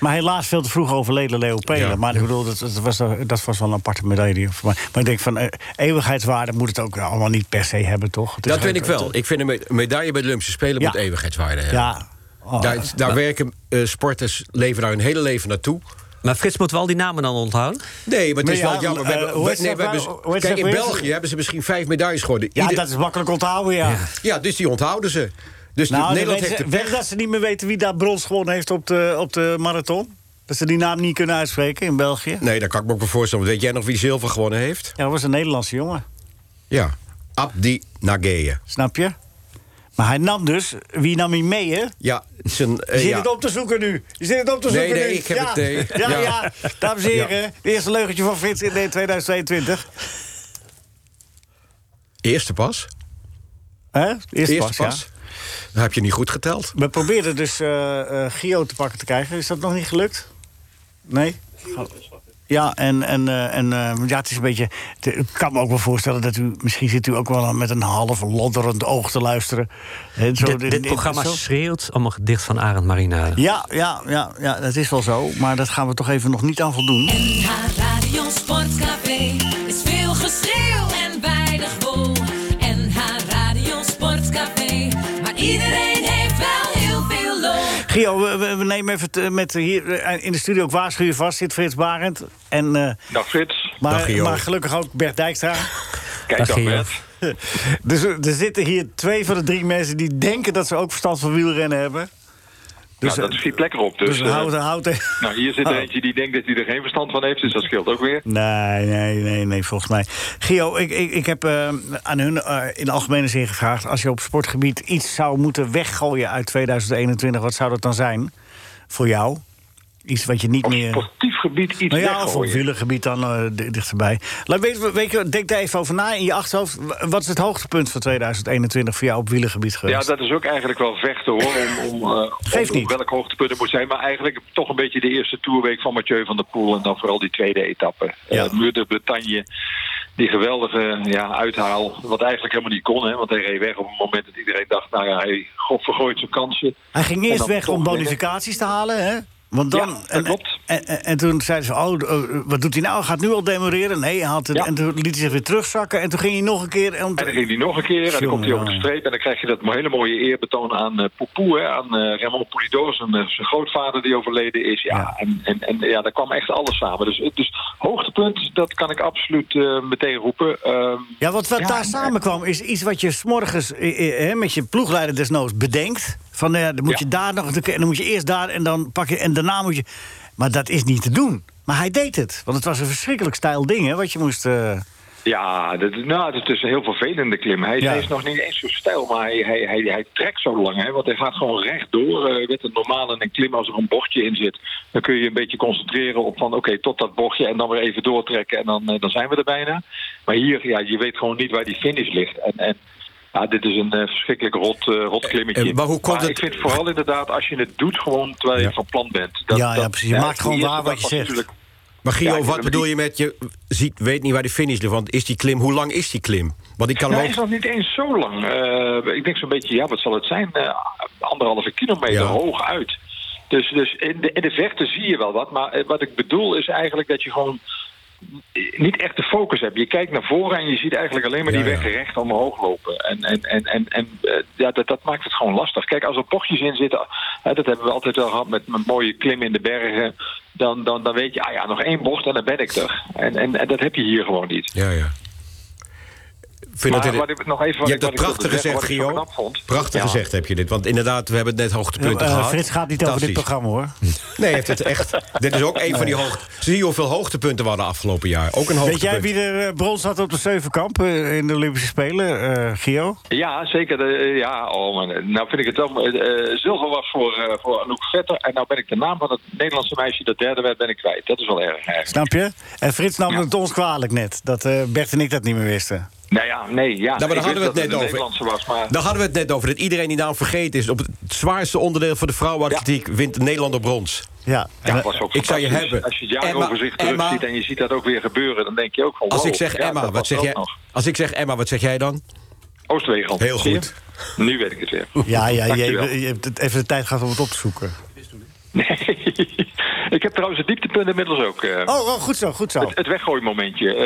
Maar helaas veel te vroeg overleden Leo Pelen. Ja. Maar ik bedoel, dat, dat, was, eh, dat was wel een aparte medaille. die- voor mij. Maar ik denk van eh, eeuwigheidswaarde moet het ook allemaal niet per se hebben, toch? Het is Dat vind ook- ik wel. Ik vind een me- medaille bij de Olympische Spelen Ja. moet eeuwigheidswaarde hebben. Ja. Oh, Daar, daar werken eh, sporters, leven daar hun hele leven naartoe. Maar Frits, moeten we al die namen dan onthouden? Nee, maar het is Maar ja, wel jammer. We eh, hebben- hoe we- is nee, dat we hebben nou? ze- Hoe is kijk, dat in weer? België hebben ze misschien vijf medailles geworden. Ja, Ieder- dat is makkelijk onthouden, ja. ja, dus die onthouden ze. Dus Nou, Nederland dan heeft de weten- pech. weet dat ze niet meer weten wie daar brons gewonnen heeft op de, op de marathon. Dat ze die naam niet kunnen uitspreken in België. Nee, daar kan ik me ook wel voorstellen. Want Weet jij nog wie zilver gewonnen heeft? Ja, dat was een Nederlandse jongen, Ja. Abdi Nageye. snap je? Maar hij nam dus, wie nam hij mee, hè? Ja, zijn, eh, Je zit ja. het op te zoeken nu. Je zit het op te Nee, zoeken nee, nu. ik heb ja. het, nee. Ja, ja, Ja. Dames en heren, het eerste leugentje van Frits in 2022. Eerste pas. Hè? Eerste pas, ja. Dan heb je niet goed geteld. We probeerden dus eh eh Gio te pakken te krijgen. Is dat nog niet gelukt? Nee? Ja, en, en, eh, en eh, ja, het is een beetje. het- ik kan me ook wel voorstellen dat u. Misschien zit u ook wel met een half lodderend oog te luisteren. Hè, zo dit in- dit in- programma zo. schreeuwt om een gedicht van Arend Marina. Ja, ja, ja, ja, dat is wel zo. Maar dat gaan we toch even nog niet aan voldoen. NH Radio Sportcafé is veel geschreeuw en weinig wol. NH Radio Sportcafé, maar iedereen heeft wel heel veel lol. Gio, we, we- we nemen even het, eh, met eh, hier eh, in de studio ook waarschuw je vast. Zit Frits Barend. En, eh, Dag Frits. maar, Dag, Gio. maar gelukkig ook Bert Dijkstra. Kijk, Dag, dag, Gio. Bert. Dus er er zitten hier twee van de drie mensen die denken dat ze ook verstand van wielrennen hebben. Dus, nou, dat eh, is vier plekken op. Dus, Dus eh, houd, houd er- nou, hier zit er eentje die denkt dat hij er geen verstand van heeft, dus dat scheelt ook weer. Nee, nee, nee, nee, volgens mij. Gio, ik, ik, ik heb eh, aan hun eh, in de algemene zin gevraagd... als je op sportgebied iets zou moeten weggooien uit 2021... wat zou dat dan zijn voor jou? Iets wat je niet Op meer... sportief gebied iets Nou ja, of op weggooien. wielergebied dan eh, di- dichterbij. Laat, weet, je- weet je, denk daar even over na in je achterhoofd. W- Wat is het hoogtepunt van 2021 voor jou op wielergebied ja, geweest? dat is ook eigenlijk wel vechten hoor, om, om, eh, Geeft om- om niet. welk hoogtepunt het moet zijn. Maar eigenlijk toch een beetje de eerste toerweek van Mathieu van der Poel... en dan vooral die tweede etappe. Ja. Ja. Muur de Bretagne, die geweldige ja, uithaal, wat eigenlijk helemaal niet kon. Hè, want hij reed weg op het moment dat iedereen dacht... nou ja, hij god vergooit zijn kansen. Hij ging En eerst dan weg toch om winnen. bonificaties te halen, hè? Want dan, Ja, dat en, klopt. En, en, en toen zeiden ze, oh, eh, wat doet hij nou? Hij Gaat nu al demoreren? Nee, hij had het, Ja. en toen liet hij zich weer terugzakken. En toen ging hij nog een keer... om te- En dan ging hij nog een keer en dan komt hij over de Jongen. streep. En dan krijg je dat hele mooie eerbetoon aan eh Poepoe, hè, aan eh Raymond Poulidor, zijn, eh, zijn grootvader die overleden is. Ja, Ja. En, en, en ja, daar kwam echt alles samen. Dus, dus hoogtepunt, dat kan ik absoluut eh, meteen roepen. Ehm, Ja, want wat Ja, daar en- samenkwam is iets wat je eh, s'morgens met je ploegleider desnoods bedenkt. Van nou ja, dan moet Ja. je daar nog, en dan moet je eerst daar en dan pak je en daarna moet je. Maar dat is niet te doen. Maar hij deed het, want het was een verschrikkelijk stijl ding hè, wat je moest. eh, Ja, dat, nou, dat is een heel vervelende klim. Hij, Ja. hij is nog niet eens zo stijl, maar hij, hij, hij, hij trekt zo lang. Hè, want hij gaat gewoon rechtdoor. Eh, Je weet het normaal in een klim, als er een bochtje in zit... dan kun je je een beetje concentreren op van... oké, tot dat bochtje en dan weer even doortrekken... en dan, eh, dan zijn we er bijna. Maar hier, ja, je weet gewoon niet waar die finish ligt. En, en ja, dit is een eh, verschrikkelijk rot, eh, rot klimmetje. Eh, maar hoe komt het- ik vind vooral inderdaad, als je het doet... gewoon terwijl je Ja. van plan bent. Ja, ja, precies. Je maakt gewoon die eerste waar wat dag je was zegt. natuurlijk- Maar Gio, Ja, ik wat ben bedoel er je met je ziet, weet niet waar de finish ligt? Want is die klim, hoe lang is die klim? Want ik kan Nou, hem hij is ook- nog niet eens zo lang. Eh, ik denk zo'n beetje, ja, wat zal het zijn? Eh, anderhalve kilometer Ja. hoog uit. Dus, dus in, de, in de verte zie je wel wat. Maar eh, wat ik bedoel is eigenlijk dat je gewoon niet echt de focus hebt. Je kijkt naar voren en je ziet eigenlijk alleen maar die Ja, ja. weg recht omhoog lopen. En, en, en, en, en eh, ja, dat, dat maakt het gewoon lastig. Kijk, als er bochtjes in zitten, hè, dat hebben we altijd wel gehad met, met mooie klim in de bergen. Dan, dan, dan weet je, ah ja, nog één bocht en dan ben ik er. En, en, en dat heb je hier gewoon niet. Ja, ja. Ik Vind Maar dat wat ik nog even- wat je hebt ik- dat wat ik wilde prachtig gezegd, zeggen, wat ik zo Gio. knap vond. Prachtig Ja. gezegd heb je dit. Want inderdaad, we hebben het net hoogtepunten Eh, gehad. Frits gaat niet over dit Fantastisch. programma hoor. Nee, heeft het echt. Dit is ook een van die hoogte. Zie je hoeveel hoogtepunten we hadden afgelopen jaar? Ook een Weet hoogtepunt. jij wie er eh, brons had op de Zevenkamp eh, in de Olympische Spelen, eh Gio? Ja, zeker. De- ja, oh man. Nou vind ik het wel. eh, eh, zilver was voor, eh voor Anouk Vetter. En nou ben ik de naam van het Nederlandse meisje dat derde werd, ben ik kwijt. Dat is wel erg eigenlijk. Snap je? En Frits nam Ja. het ons kwalijk net, dat eh, Bert en ik dat niet meer wisten. Nou ja, nee, ja. Nou, maar daar ik hadden we wist het dat net een over. Nou, Nederlandse was, maar... Daar hadden we het net over. Dat iedereen die naam vergeten is. Op het zwaarste onderdeel van de vrouwenatletiek wint Nederland op brons. Ja. Ja, En, eh, was ook ik zou je fantastisch. hebben. Als je het Emma- jaaroverzicht Emma- terugziet en je ziet dat ook weer gebeuren, dan denk je ook van... Als wow, ik zeg ja, Emma, dat wat was zeg wel jij? nog. Als ik zeg Emma, wat zeg jij dan? Oostwegel. Heel Zie je? goed. Nu weet ik het weer. ja, ja je, Dankjewel. je hebt het even de tijd gehad om het op te zoeken. Nee. ik heb trouwens het dieptepunt inmiddels ook. eh, Oh, oh goed zo, goed zo. Het, het weggooimomentje. Eh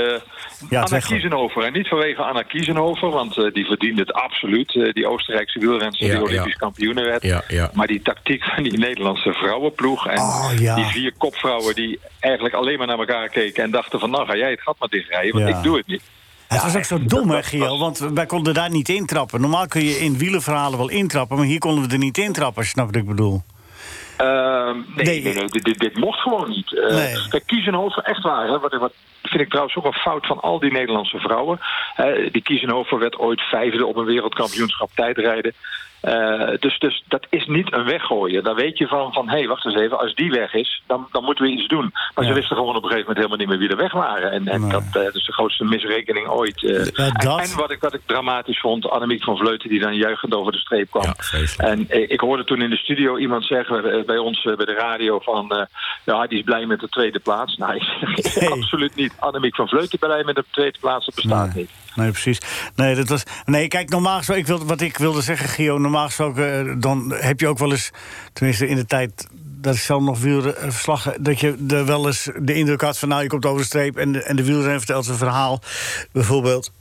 Ja, het Anna weggooi. Kiezenhover. En niet vanwege Anna Kiezenhover, want eh, die verdient het absoluut. Eh, die Oostenrijkse wielrenster Ja, die Olympisch ja. kampioene werd. Ja, ja. Maar die tactiek van die Nederlandse vrouwenploeg. En Oh, ja. die vier kopvrouwen die eigenlijk alleen maar naar elkaar keken. En dachten van nou ga jij het gat maar dichtrijden, want Ja. ik doe het niet. Het was ook zo dom, hè, Gio? Want wij konden daar niet intrappen. Normaal kun je in wielenverhalen wel intrappen, maar hier konden we er niet intrappen, als je snapt wat ik bedoel. Ehm, nee, Nee. nee. nee, dit, dit, dit mocht gewoon niet. Eh, Nee. Kijk, Kiezenhoven, echt waar. Hè, wat, wat vind ik trouwens ook een fout van al die Nederlandse vrouwen. Eh, die Kiezenhoven werd ooit vijfde op een wereldkampioenschap tijdrijden. Eh, dus, dus dat is niet een weggooien. Daar weet je van, van hé, hey, wacht eens even, als die weg is, dan, dan moeten we iets doen. Maar Ja. ze wisten gewoon op een gegeven moment helemaal niet meer wie er weg waren. En, en Nee. dat, eh, is de grootste misrekening ooit. eh. Ja, dat- En wat ik, wat ik dramatisch vond, Annemiek van Vleuten die dan juichend over de streep kwam. Ja, vreselijk. En eh, ik hoorde toen in de studio iemand zeggen eh, bij ons eh, bij de radio van... eh, ja, die is blij met de tweede plaats. Nee, Nee. absoluut niet. Annemiek van Vleuten blij met de tweede plaats, dat bestaat Nee. niet. Nee, precies. Nee, dat was, nee, kijk, normaal gesproken, ik wilde, wat ik wilde zeggen, Gio, normaal gesproken, eh, dan heb je ook wel eens, tenminste in de tijd dat ik zelf nog wielde verslagen, dat je er wel eens de indruk had van, nou, je komt over de streep en de, en de wielrenner vertelt zijn verhaal, bijvoorbeeld.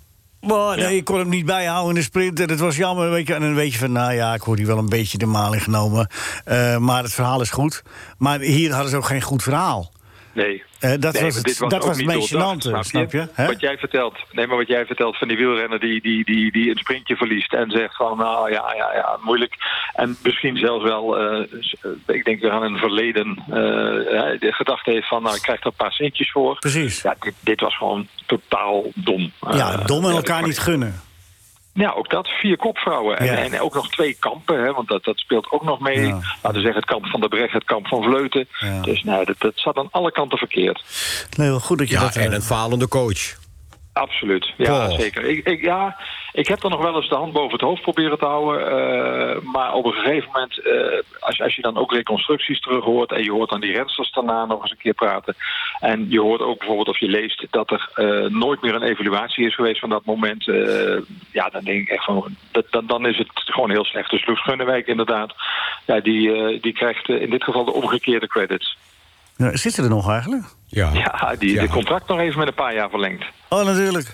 Maar nee, ik kon hem niet bijhouden in de sprint en het was jammer. Weet je, en dan weet je van, nou ja, ik hoor die wel een beetje de maling genomen. Eh, maar het verhaal is goed. Maar hier hadden ze ook geen goed verhaal. Nee. Eh, dat Nee, was maar het- dit dat ook was het niet meest doordacht, gênante, snap je? Hè? Wat jij vertelt, nee, maar wat jij vertelt van die wielrenner die, die, die, die een sprintje verliest en zegt van, nou ja, ja, ja, moeilijk. En misschien zelfs wel, eh, s- eh, ik denk weer aan een verleden, eh, hè, de gedachte heeft van, nou, ik krijg er een paar centjes voor. Precies. Ja, dit, dit was gewoon totaal dom. Ah, Ja, Eh, dom en ja, elkaar maar- niet gunnen. Ja, ook dat. Vier kopvrouwen. En, Ja. en ook nog twee kampen, hè, want dat, dat speelt ook nog mee. Ja. Laten we zeggen, het kamp van de Brecht, het kamp van Vleuten. Ja. Dus nou, dat, dat zat aan alle kanten verkeerd. Nee, wel goed dat je Ja, dat... eh, en een falende coach. Absoluut. Ja, Paul. zeker. Ik, ik, ja, ik heb er nog wel eens de hand boven het hoofd proberen te houden. eh, maar op een gegeven moment, eh, als, als je dan ook reconstructies terug hoort... en je hoort dan die rensters daarna nog eens een keer praten... en je hoort ook bijvoorbeeld of je leest dat er eh, nooit meer een evaluatie is geweest van dat moment... eh, ja, dan denk ik echt van... Dat, dan, dan is het gewoon heel slecht. Dus Loes Gunnewijk inderdaad, ja, die, eh, die krijgt eh, in dit geval de omgekeerde credits. Nou, zit ze er nog eigenlijk? Ja. Ja, die Ja. de contract nog even met een paar jaar verlengd. Oh, natuurlijk.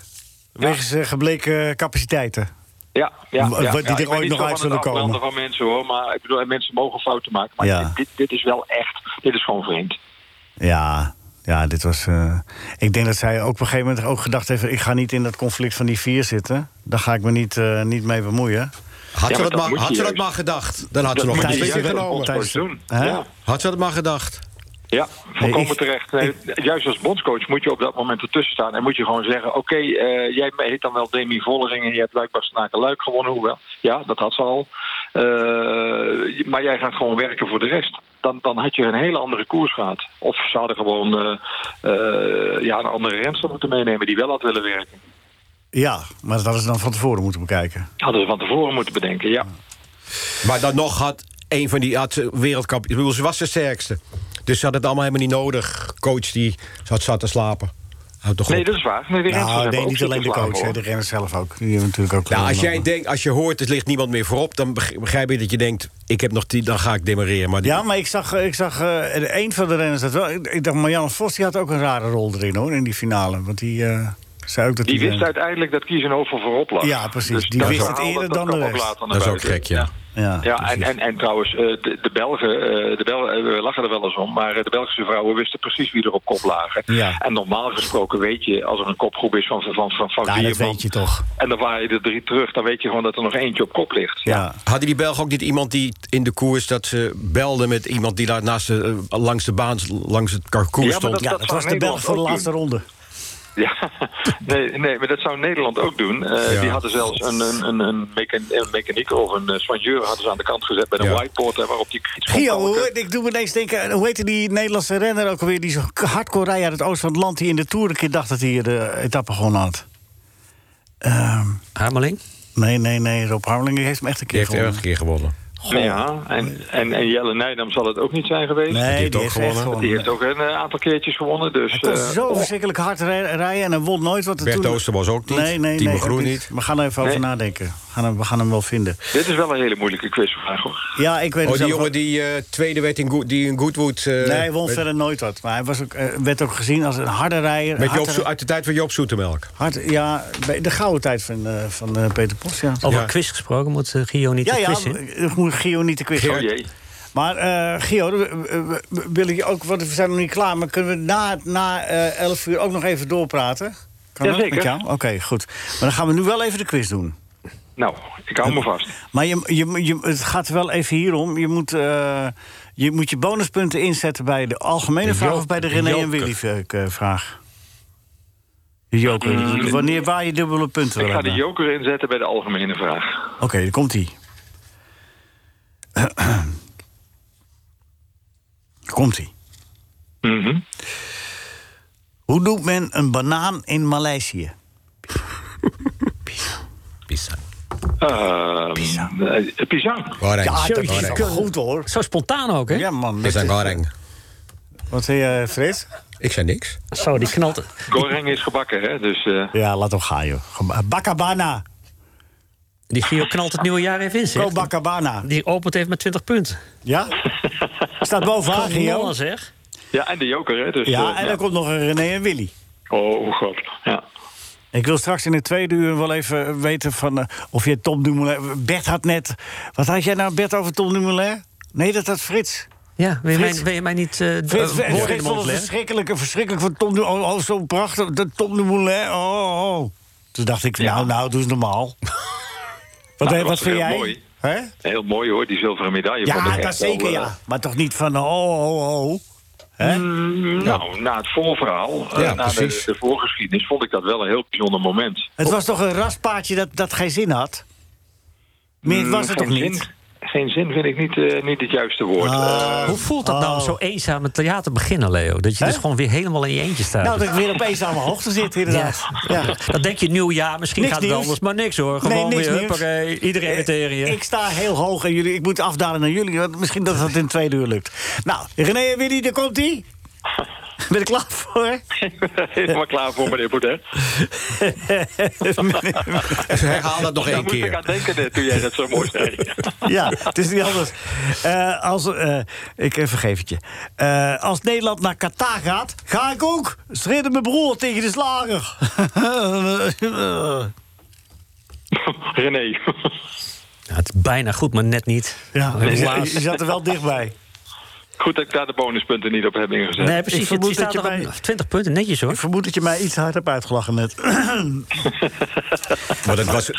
Wegens eh, gebleken capaciteiten. Ja, ja, Wat ja, die ja. er Ik ben ooit niet nog zo uit van zullen het komen. afbranden van mensen hoor, maar ik bedoel, en mensen mogen fouten maken. Maar Ja. dit, dit, dit is wel echt, dit is gewoon vreemd. Ja, ja, dit was... eh, ik denk dat zij ook op een gegeven moment ook gedacht heeft... ik ga niet in dat conflict van die vier zitten. Daar ga ik me niet, eh, niet mee bemoeien. Had, Ja, ze maar dat dat maar, moet had je ze dat juist. maar gedacht, dan had ze nog Dat moet een je beslissing juist genomen. tijdens- doen. Hè? Ja. Had ze dat maar gedacht. Ja, volkomen Nee, ik- terecht. Nee, Juist als bondscoach moet je op dat moment ertussen staan. En moet je gewoon zeggen, oké, eh, jij heet dan wel Demi Vollering... en je hebt blijkbaar Snaken-Luik gewonnen, hoewel. Ja, dat had ze al. Eh, maar jij gaat gewoon werken voor de rest. Dan, dan had je een hele andere koers gehad. Of ze hadden gewoon eh, eh, ja, een andere renster moeten meenemen... die wel had willen werken. Ja, maar dat is dan van tevoren moeten bekijken. Hadden ze van tevoren moeten bedenken, ja. Maar dan nog had een van die had ze wereldkampioen... Ik bedoel, ze was de sterkste. Dus ze had het allemaal helemaal niet nodig. Coach die zat, zat te slapen. Houd toch Nee, op. dat is waar. Nee, de rensters Nou, hebben nee, ook niet alleen de zitten coach, slapen, hè, de renners zelf ook. Die hebben natuurlijk ook. eh, Nou, als jij denkt, als je hoort, het ligt niemand meer voorop... dan beg- begrijp je dat je denkt, ik heb nog die, dan ga ik demareren. Maar die- Ja, maar ik zag, ik zag eh een van de renners dat wel. Ik, ik dacht, Marianne Vos die had ook een rare rol erin hoor, in die finale. Want die eh, zei ook dat Die die, wist eh, uiteindelijk dat Kiezenhoven voorop lag. Ja, precies. Dus Die dat wist het verhaal, eerder dat- dan dat de kwam ook rest. later naar dat is ook buiten. gek, ja. Ja, Ja, en, precies. en, en trouwens, eh, de, de Belgen, eh, de Bel eh, we lachen er wel eens om, maar eh, de Belgische vrouwen wisten precies wie er op kop lagen. Ja. En normaal gesproken weet je, als er een kopgroep is van, van, van, van, Ja, vier dat man, weet je toch. en dan waren je er drie terug, dan weet je gewoon dat er nog eentje op kop ligt. Ja. Hadden die Belgen ook niet iemand die in de koers... dat ze belden met iemand die daar naast de, eh, langs de baan, langs het parcours Ja, maar stond? dat- Ja, dat was de Belg voor de laatste ronde. Ja, nee, nee, maar dat zou Nederland ook doen. Eh, Ja. Die hadden zelfs een, een, een, een, mechan- een mechaniek of een eh, soigneur hadden ze aan de kant gezet met een Ja. whiteboard eh, waarop die iets kon Gio, melken. hoe- ik doe me ineens denken, hoe heette die Nederlandse renner ook alweer... die zo hardcore rijdt uit het oosten van het land... die in de Tour een keer dacht dat hij eh, de etappe gewonnen had? Ehm, Hameling? nee, nee, nee, Rob Harmeling heeft hem echt een Die keer heeft gewonnen. elke keer gewonnen. Ja, en, en, en Jelle Nijdam zal het ook niet zijn geweest. Nee, heeft die ook heeft gewonnen. echt gewonnen. Die heeft ook een eh, aantal keertjes gewonnen. Dus, Hij kon eh, zo verschrikkelijk hard rij- rijden en hij won nooit. Wat er Bert toen... Ooster was ook niet. Nee, nee, Timo nee, Groen ook niet. We gaan er even over Nee. nadenken. We gaan, hem, we gaan hem wel vinden. Dit is wel een hele moeilijke quizvraag hoor. Ja, ik weet Oh, het die zelf jongen ook- die eh, tweede werd in, Good- die in Goodwood... eh, Nee, hij won met- verder nooit wat. Maar hij was ook, eh, werd ook gezien als een harde rijder. Met Joop, harde- Zo- uit de tijd van Joop Zoetemelk. hard- ja, bij de gouden tijd van, eh, van eh, Peter Post, ja. Over Ja. quiz gesproken, moet eh, Gio niet Ja, de ja, quiz in? ik moet Gio niet te quiz. Oh jee. Maar eh Gio, we- we- we- wil ik je ook, want we zijn nog niet klaar... maar kunnen we na, na eh 11 uur ook nog even doorpraten? Kan dat Jazeker. met jou? Oké, goed. Maar dan gaan we nu wel even de quiz doen. Nou, ik hou me vast. Maar je, je, je, het gaat wel even hierom. Je moet, eh, je moet je bonuspunten inzetten bij de algemene De vraag... jo- of bij de de René en joker. Willy eh, vraag? De joker. Wanneer waar je dubbele punten Ik wil ga de hebben. joker inzetten bij de algemene vraag. Oké, daar komt-ie. komt-ie. Mhm. Hoe doet men een banaan in Maleisië? Pisang. Ehm, eh, Pisang. Goreng. goed hoor. Zo spontaan ook, hè? Ja man. dat Pisang is- goreng. Wat zei je, Frits? Ik zei niks. Zo, die knalt. Goreng is gebakken, hè? Dus eh, Ja, laat hem gaan joh. Ge- Bakkabana. Die Gio knalt het nieuwe jaar even in, Go zeg. Bakkabana. Die opent even met 20 punten. Ja? Staat bovenaan, Ah, Gio. Knallen, zeg. ja, en de joker, hè? Dus, Ja, eh, en dan komt nog een René en Willy. Oh, god. Ja. Ik wil straks in het tweede uur wel even weten van, eh, of je Tom Dumoulin... Bert had net... Wat had jij nou, Bert, over Tom Dumoulin? Nee, dat had Frits. Ja, wil je, Frits- mij, wil je mij niet eh Frits, eh, woorden in de Frits vond mond het leggen? verschrikkelijk, verschrikkelijk van Tom Dumoulin. Oh, oh, zo prachtig, de Tom Dumoulin. Oh, oh. Toen dacht ik, nou, nou, doe eens normaal. wat Nou, dat eh, wat was vind heel jij? mooi. Hè? Heel mooi hoor, die zilveren medaille. vond ik Ja, echt dat wel, zeker, eh, ja. Maar toch niet van, oh, oh, oh. Hè? mm, Nou, na het voorverhaal, eh, Ja, na de, precies. de voorgeschiedenis, vond ik dat wel een heel bijzonder moment. Het was toch een raspaardje dat, dat geen zin had? Meer Mm, was het toch geen zin- niet? Geen zin vind ik niet, eh, niet het juiste woord. Ah. Eh, Hoe voelt dat nou om Oh. zo eenzaam het theater te beginnen, Leo? Dat je Hè? dus gewoon weer helemaal in je eentje staat. Nou, dat ik weer opeens aan mijn hoogte zit, inderdaad. Ja. Dan denk je nieuw jaar, misschien Niks gaat het nieuws. anders, maar niks hoor. Nee, Gewoon niks weer, nieuws. Eh, huppakee, iedereen weer tegen je. Ik sta heel hoog en jullie, ik moet afdalen naar jullie. Want misschien dat dat in het tweede uur lukt. Nou, René en Willy, daar komt ie. Ben ik klaar voor? Helemaal klaar voor, meneer Baudet. Herhaal dat nog Daar één moest ik aan keer. denken eh, toen jij dat zo mooi zei. Ja, het is niet anders. Eh, als, eh, ik eh, vergeef het je. Eh, als Nederland naar Qatar gaat, ga ik ook. Schreden mijn broer tegen de slager. René. Ja, het is bijna goed, maar net niet. ja, je, Helaas. je zat er wel dichtbij. Goed dat ik daar de bonuspunten niet op heb ingezet. Nee, precies. Ik vermoed het staat dat je er op bij- 20 punten, netjes hoor. Ik vermoed dat je mij iets hard hebt uitgelachen net. Maar dat was,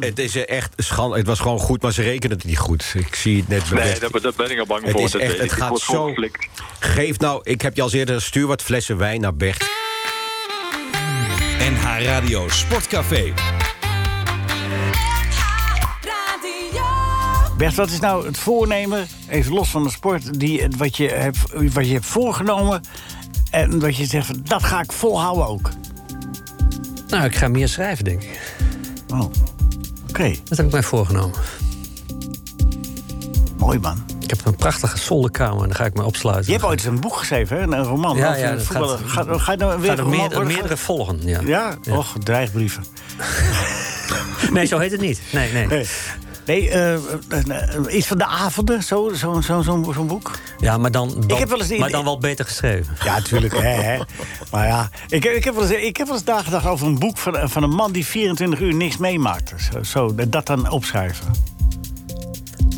het, is eh, echt schand, het was gewoon goed, maar ze rekenen het niet goed. Ik zie het net. bij Nee, Bert. daar, daar ben ik al bang het voor. is Dat echt, weet het ik. Ik gaat word gewoon zo. geflikt. Geef nou, ik heb je al eerder, stuur wat flessen wijn naar Bert. NH Radio Sportcafé. Radio. Bert, wat is nou het voornemen, even los van de sport, die, wat, je hebt, wat je hebt voorgenomen en wat je zegt, van, dat ga ik volhouden ook? Nou, ik ga meer schrijven, denk ik. Oh, oké. Dat heb ik mij voorgenomen. Mooi man. Ik heb een prachtige zolderkamer en daar ga ik me opsluiten. Je hebt ooit eens een boek geschreven, hè? een roman. Ja, over ja, een dat voetballer. gaat- Ga, ga je nou weer Gaan er een roman meer- worden? meerdere volgen, ja. Ja, och, dreigbrieven. Nee, zo heet het niet. Nee, nee. Nee, nee eh, eh, eh, iets van de avonden, zo'n zo, zo, zo, zo'n boek. Ja, maar dan, dan, Ik heb wel eens de- maar dan wel beter geschreven. Ja, tuurlijk. hè, hè. Maar ja, ik, heb- ik heb wel eens, ik heb wel eens nagedacht over een boek van, van een man die 24 uur niks meemaakte. Zo, zo, dat dan opschrijven.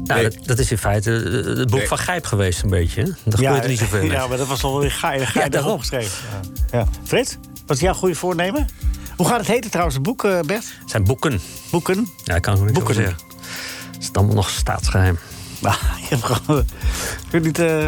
Nou, Nee. dat, dat is in feite eh, het boek Nee. van Gijp geweest, een beetje. hè? Daar gebeurt er niet zoveel mee. Ja, maar dat was alweer ga je ga je Ja, erop daarom. opgeschreven. Ja. Ja. Frits, wat is jouw goede voornemen? Hoe gaat het heten trouwens, het boek, eh, Bert? Het zijn boeken. Boeken? Ja, ik kan er niet boeken. Boeken. zeggen. Het is allemaal nog staatsgeheim. Nou, je hebt gewoon... Kun je niet eh,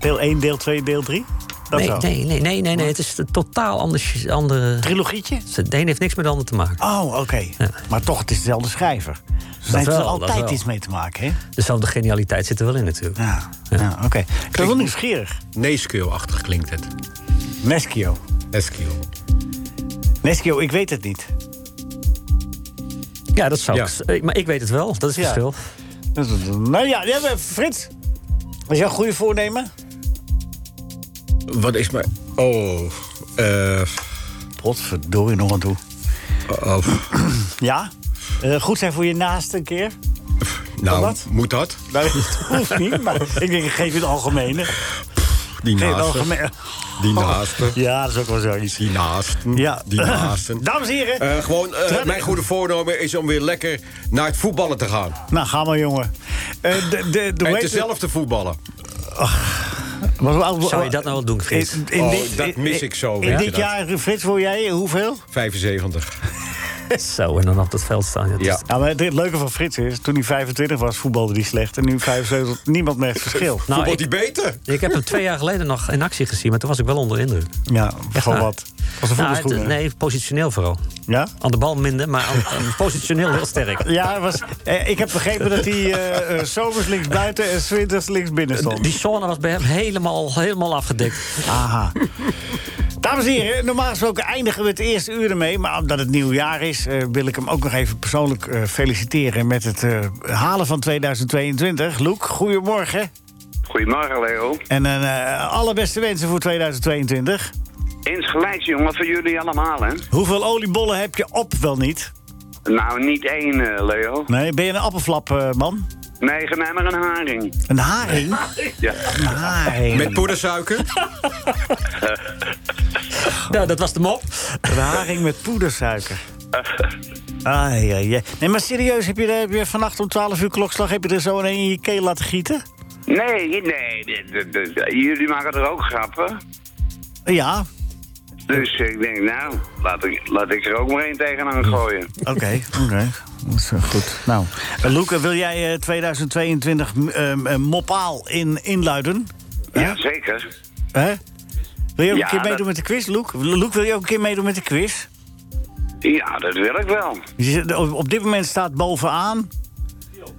deel 1, deel 2, deel 3? Dat Nee, zo. nee, nee, nee, nee, nee. Het is een totaal anders. Andere... Trilogietje? De een heeft niks met de ander te maken. Oh, oké. Ja. Maar toch, het is dezelfde schrijver. Dus daar heeft wel, er dat altijd wel. iets mee te maken, hè? Dezelfde genialiteit zit er wel in natuurlijk. Ja, ja. oké. Ik ben wel nieuwsgierig. Neeskio-achtig klinkt het. Neschio. Neskio. Neschio, ik weet het niet. Ja, dat zou Ja. ik... s- eh, Maar ik weet het wel, dat is het Ja. verschil. Dat is- Nou ja, ja, maar Frits. Wat is jouw goede voornemen? Wat is mijn... Oh... eh, Potverdorie nog aan toe. oh, Ja? Eh, goed zijn voor je naast een keer? nou, wat? moet dat? Nou, dat hoeft niet, maar ik denk, ik geef je het algemene. Geef Die het naasten. algemene. Die naasten. Ja, dat is ook wel zoiets. Die naasten. Ja. Die naasten. Dames en heren. Eh, gewoon, eh, Terwijl- mijn goede voornemen is om weer lekker naar het voetballen te gaan. Nou, ga maar, jongen. Eh, de, de, de, En weet- zelf te voetballen. Wat- wat- wat- Zou je dat nou wel doen, Frits? In, in Oh, dit, dat mis in- ik zo, In weet je dit dat? jaar, Frits, wil jij hoeveel? 75. Zo, en dan op dat veld staan. Ja, dat Ja. is- Nou, maar het, het leuke van Frits is, toen hij 25 was, voetbalde hij slecht. En nu 75, niemand merkt verschil. Nou, Wordt ik, die beter? ik heb hem twee jaar geleden nog in actie gezien, maar toen was ik wel onder de indruk. Ja, gewoon waar. wat. Was een Nou, voetbalschoen. het- hè? nee, positioneel vooral. Ja? Aan de bal minder, maar aan- aan- positioneel heel sterk. Ja, hij was, eh, ik heb begrepen dat hij eh, eh, zomers links buiten en 's winters links binnen stond. Die zone was bij hem helemaal, helemaal afgedekt. Aha. Dames en heren, normaal gesproken eindigen we het eerste uur ermee. Maar omdat het nieuw jaar is, eh, wil ik hem ook nog even persoonlijk eh, feliciteren... met het eh, halen van 2022. Loek, goedemorgen. Goedemorgen, Leo. En eh alle beste wensen voor 2022. Insgelijks, jongen, voor jullie allemaal, hè? Hoeveel oliebollen heb je op wel niet? Nou, niet één, eh, Leo. Nee, ben je een appelflap, eh, man? Nee, geneem maar een haring. Een haring? Ja. Een haring. Met poedersuiker? Nou, dat was de mop. Een haring met poedersuiker. Ai, ai, ai. Nee, maar serieus, heb je, er- heb je vannacht om 12 uur klokslag... heb je er zo een in je keel laten gieten? Nee, nee, de- de- de- de- jullie maken er ook grappen. Eh, Ja, Dus ik denk, nou, laat ik, laat ik er ook maar één tegenaan gooien. oké. oké. Dat is eh, goed. Nou, eh, Loeke, wil jij eh, 2022 m- ehm, eh, mopaal in, inluiden? Ja, zeker. Hè? Wil je ook Ja, een keer dat- meedoen met de quiz, Loek? Loek, wil je ook een keer meedoen met de quiz? Ja, dat wil ik wel. Je zit- Op, op dit moment staat bovenaan...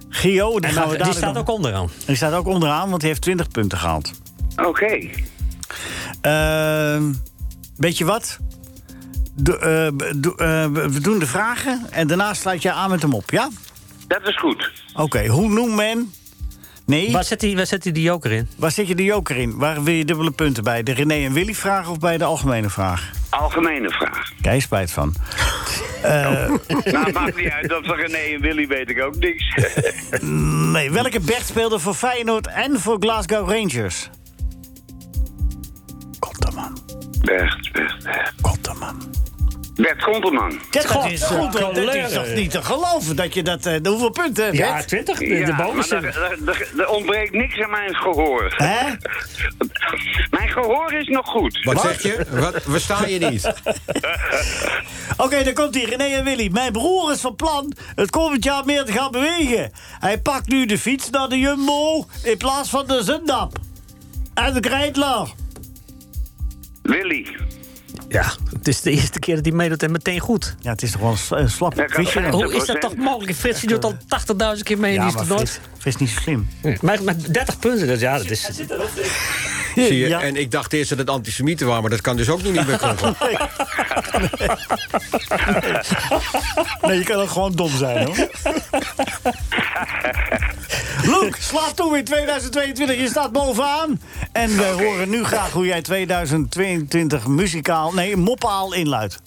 Gio, die, gaan we Nou, die dadelijk staat nog- ook onderaan. die staat ook onderaan, want die heeft 20 punten gehaald. Oké. Ehm, weet je wat? Doe- eh, doe- eh, we doen de vragen en daarna sluit jij aan met hem op, ja? Dat is goed. Oké, hoe noemt men... Nee, Waar zet, hij, waar zet hij die joker in? waar zit je de joker in? Waar wil je dubbele punten bij? De René en Willy vraag of bij de algemene vraag? Algemene vraag. Kijk, je spijt van. nou, maakt niet uit dat van René en Willy weet ik ook niks. Nee, welke Bert speelde voor Feyenoord en voor Glasgow Rangers? Komt dan, man. Echt, echt, echt. Komt dan, man. Bert Gontelman. Kijk, Dat God, is goed, een hoor. dat is eh, colère. toch niet te geloven dat je dat... eh, de hoeveel punten, Ja, Bert? 20. de- Ja, de maar bonussen. er- er- er- er ontbreekt niks aan mijn gehoor. Hè? Mijn gehoor is nog goed. Wat zeg je? Wat, we staan je niet. Oké, dan komt hier René en Willy. Mijn broer is van plan het komend jaar meer te gaan bewegen. Hij pakt nu de fiets naar de Jumbo in plaats van de Zendap. En de Krijtler. Willy. Ja, het is de eerste keer dat hij meedoet en meteen goed. Ja, het is toch wel een s- een slap Ja, kan- visje. kan- Hoe is dat toch mogelijk? Frits die doet al 80.000 keer mee en die is er nooit. is niet zo slim. Maar met 30 punten, dat, ja, dat is... Zie je? Ja. En ik dacht eerst dat het antisemieten waren, maar dat kan dus ook nog niet meer kloppen. Nee, je kan ook gewoon dom zijn, hoor. Luke, slaag toe in 2022. Je staat bovenaan. En we horen nu graag hoe jij 2022 muzikaal... Nee, moppaal inluidt.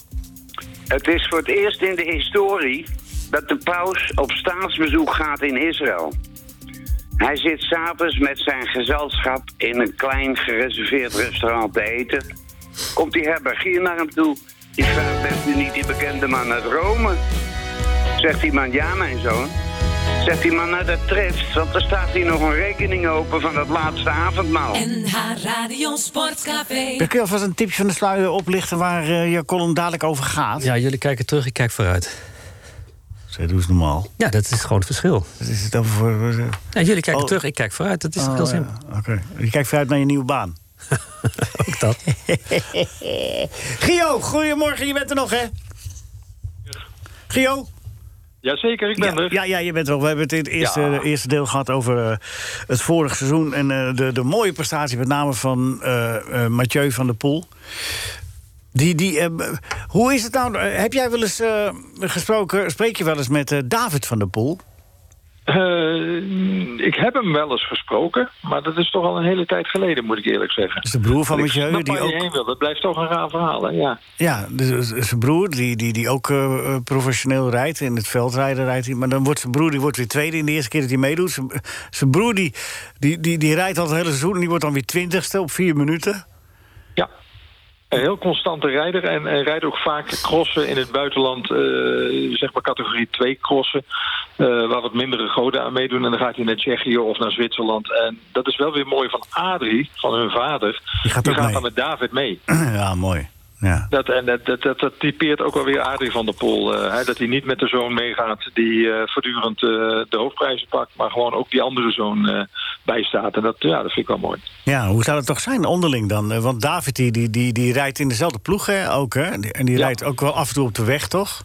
Het is voor het eerst in de historie dat de paus op staatsbezoek gaat in Israël. Hij zit s'avonds met zijn gezelschap in een klein gereserveerd restaurant te eten. Komt die herbergier naar hem toe. Die vraagt, bent u niet die bekende man uit Rome? Zegt die man, ja mijn zoon. Zegt die man, nou dat treft, want er staat hier nog een rekening open van dat laatste avondmaal. NH Radio Sportcafé. Dan kun je alvast een tipje van de sluier oplichten waar eh, je column dadelijk over gaat. Ja, jullie kijken terug, ik kijk vooruit. Zij doen ze normaal. Ja, dat is gewoon het verschil. Dat is het over voor... Ja, jullie kijken Oh. terug, ik kijk vooruit. Dat is Oh, heel ja, simpel. Oké. Je kijkt vooruit naar je nieuwe baan. Ook dat. Gio, goedemorgen. Je bent er nog, hè? Gio? Jazeker, ik ben ja, er. Ja, ja, je bent er wel. We hebben het in het eerste, Ja. eh, eerste deel gehad over eh, het vorige seizoen. En eh, de, de mooie prestatie, met name van eh, eh, Mathieu van der Poel. Die, die, eh, hoe is het nou? eh, Heb jij wel eens eh, gesproken? Spreek je wel eens met eh, David van der Poel? Eh, ik heb hem wel eens gesproken, maar dat is toch al een hele tijd geleden, moet ik eerlijk zeggen. Dat is de broer van Ik Mathieu. snap Die waar je ook, heen wil. Dat blijft toch een raar verhaal, hè? Ja. ja, dus zijn broer, die, die, die ook eh, eh, professioneel rijdt. In het veldrijden rijdt hij. Maar dan wordt zijn broer die wordt weer tweede in de eerste keer dat hij meedoet. Zijn- Zijn broer die, die, die, die rijdt al het hele seizoen. En die wordt dan weer twintigste op vier minuten. ja. Een heel constante rijder en, en rijdt ook vaak crossen in het buitenland, eh, zeg maar categorie 2 crossen, eh, waar wat mindere goden aan meedoen. En dan gaat hij naar Tsjechië of naar Zwitserland. En dat is wel weer mooi van Adrie, van hun vader. Die gaat ook mee. dan met David mee. Ja, mooi. Ja. Dat, en dat, dat, dat, dat typeert ook alweer Adrie van der Pol. eh, hè, dat hij niet met de zoon meegaat die eh, voortdurend eh, de hoofdprijzen pakt, maar gewoon ook die andere zoon eh, bijstaat. En dat, ja, dat vind ik wel mooi. ja, hoe zou dat toch zijn onderling dan? Eh, Want David die, die, die, die rijdt in dezelfde ploeg hè, ook, hè? Die- En die Ja. rijdt ook wel af en toe op de weg, toch?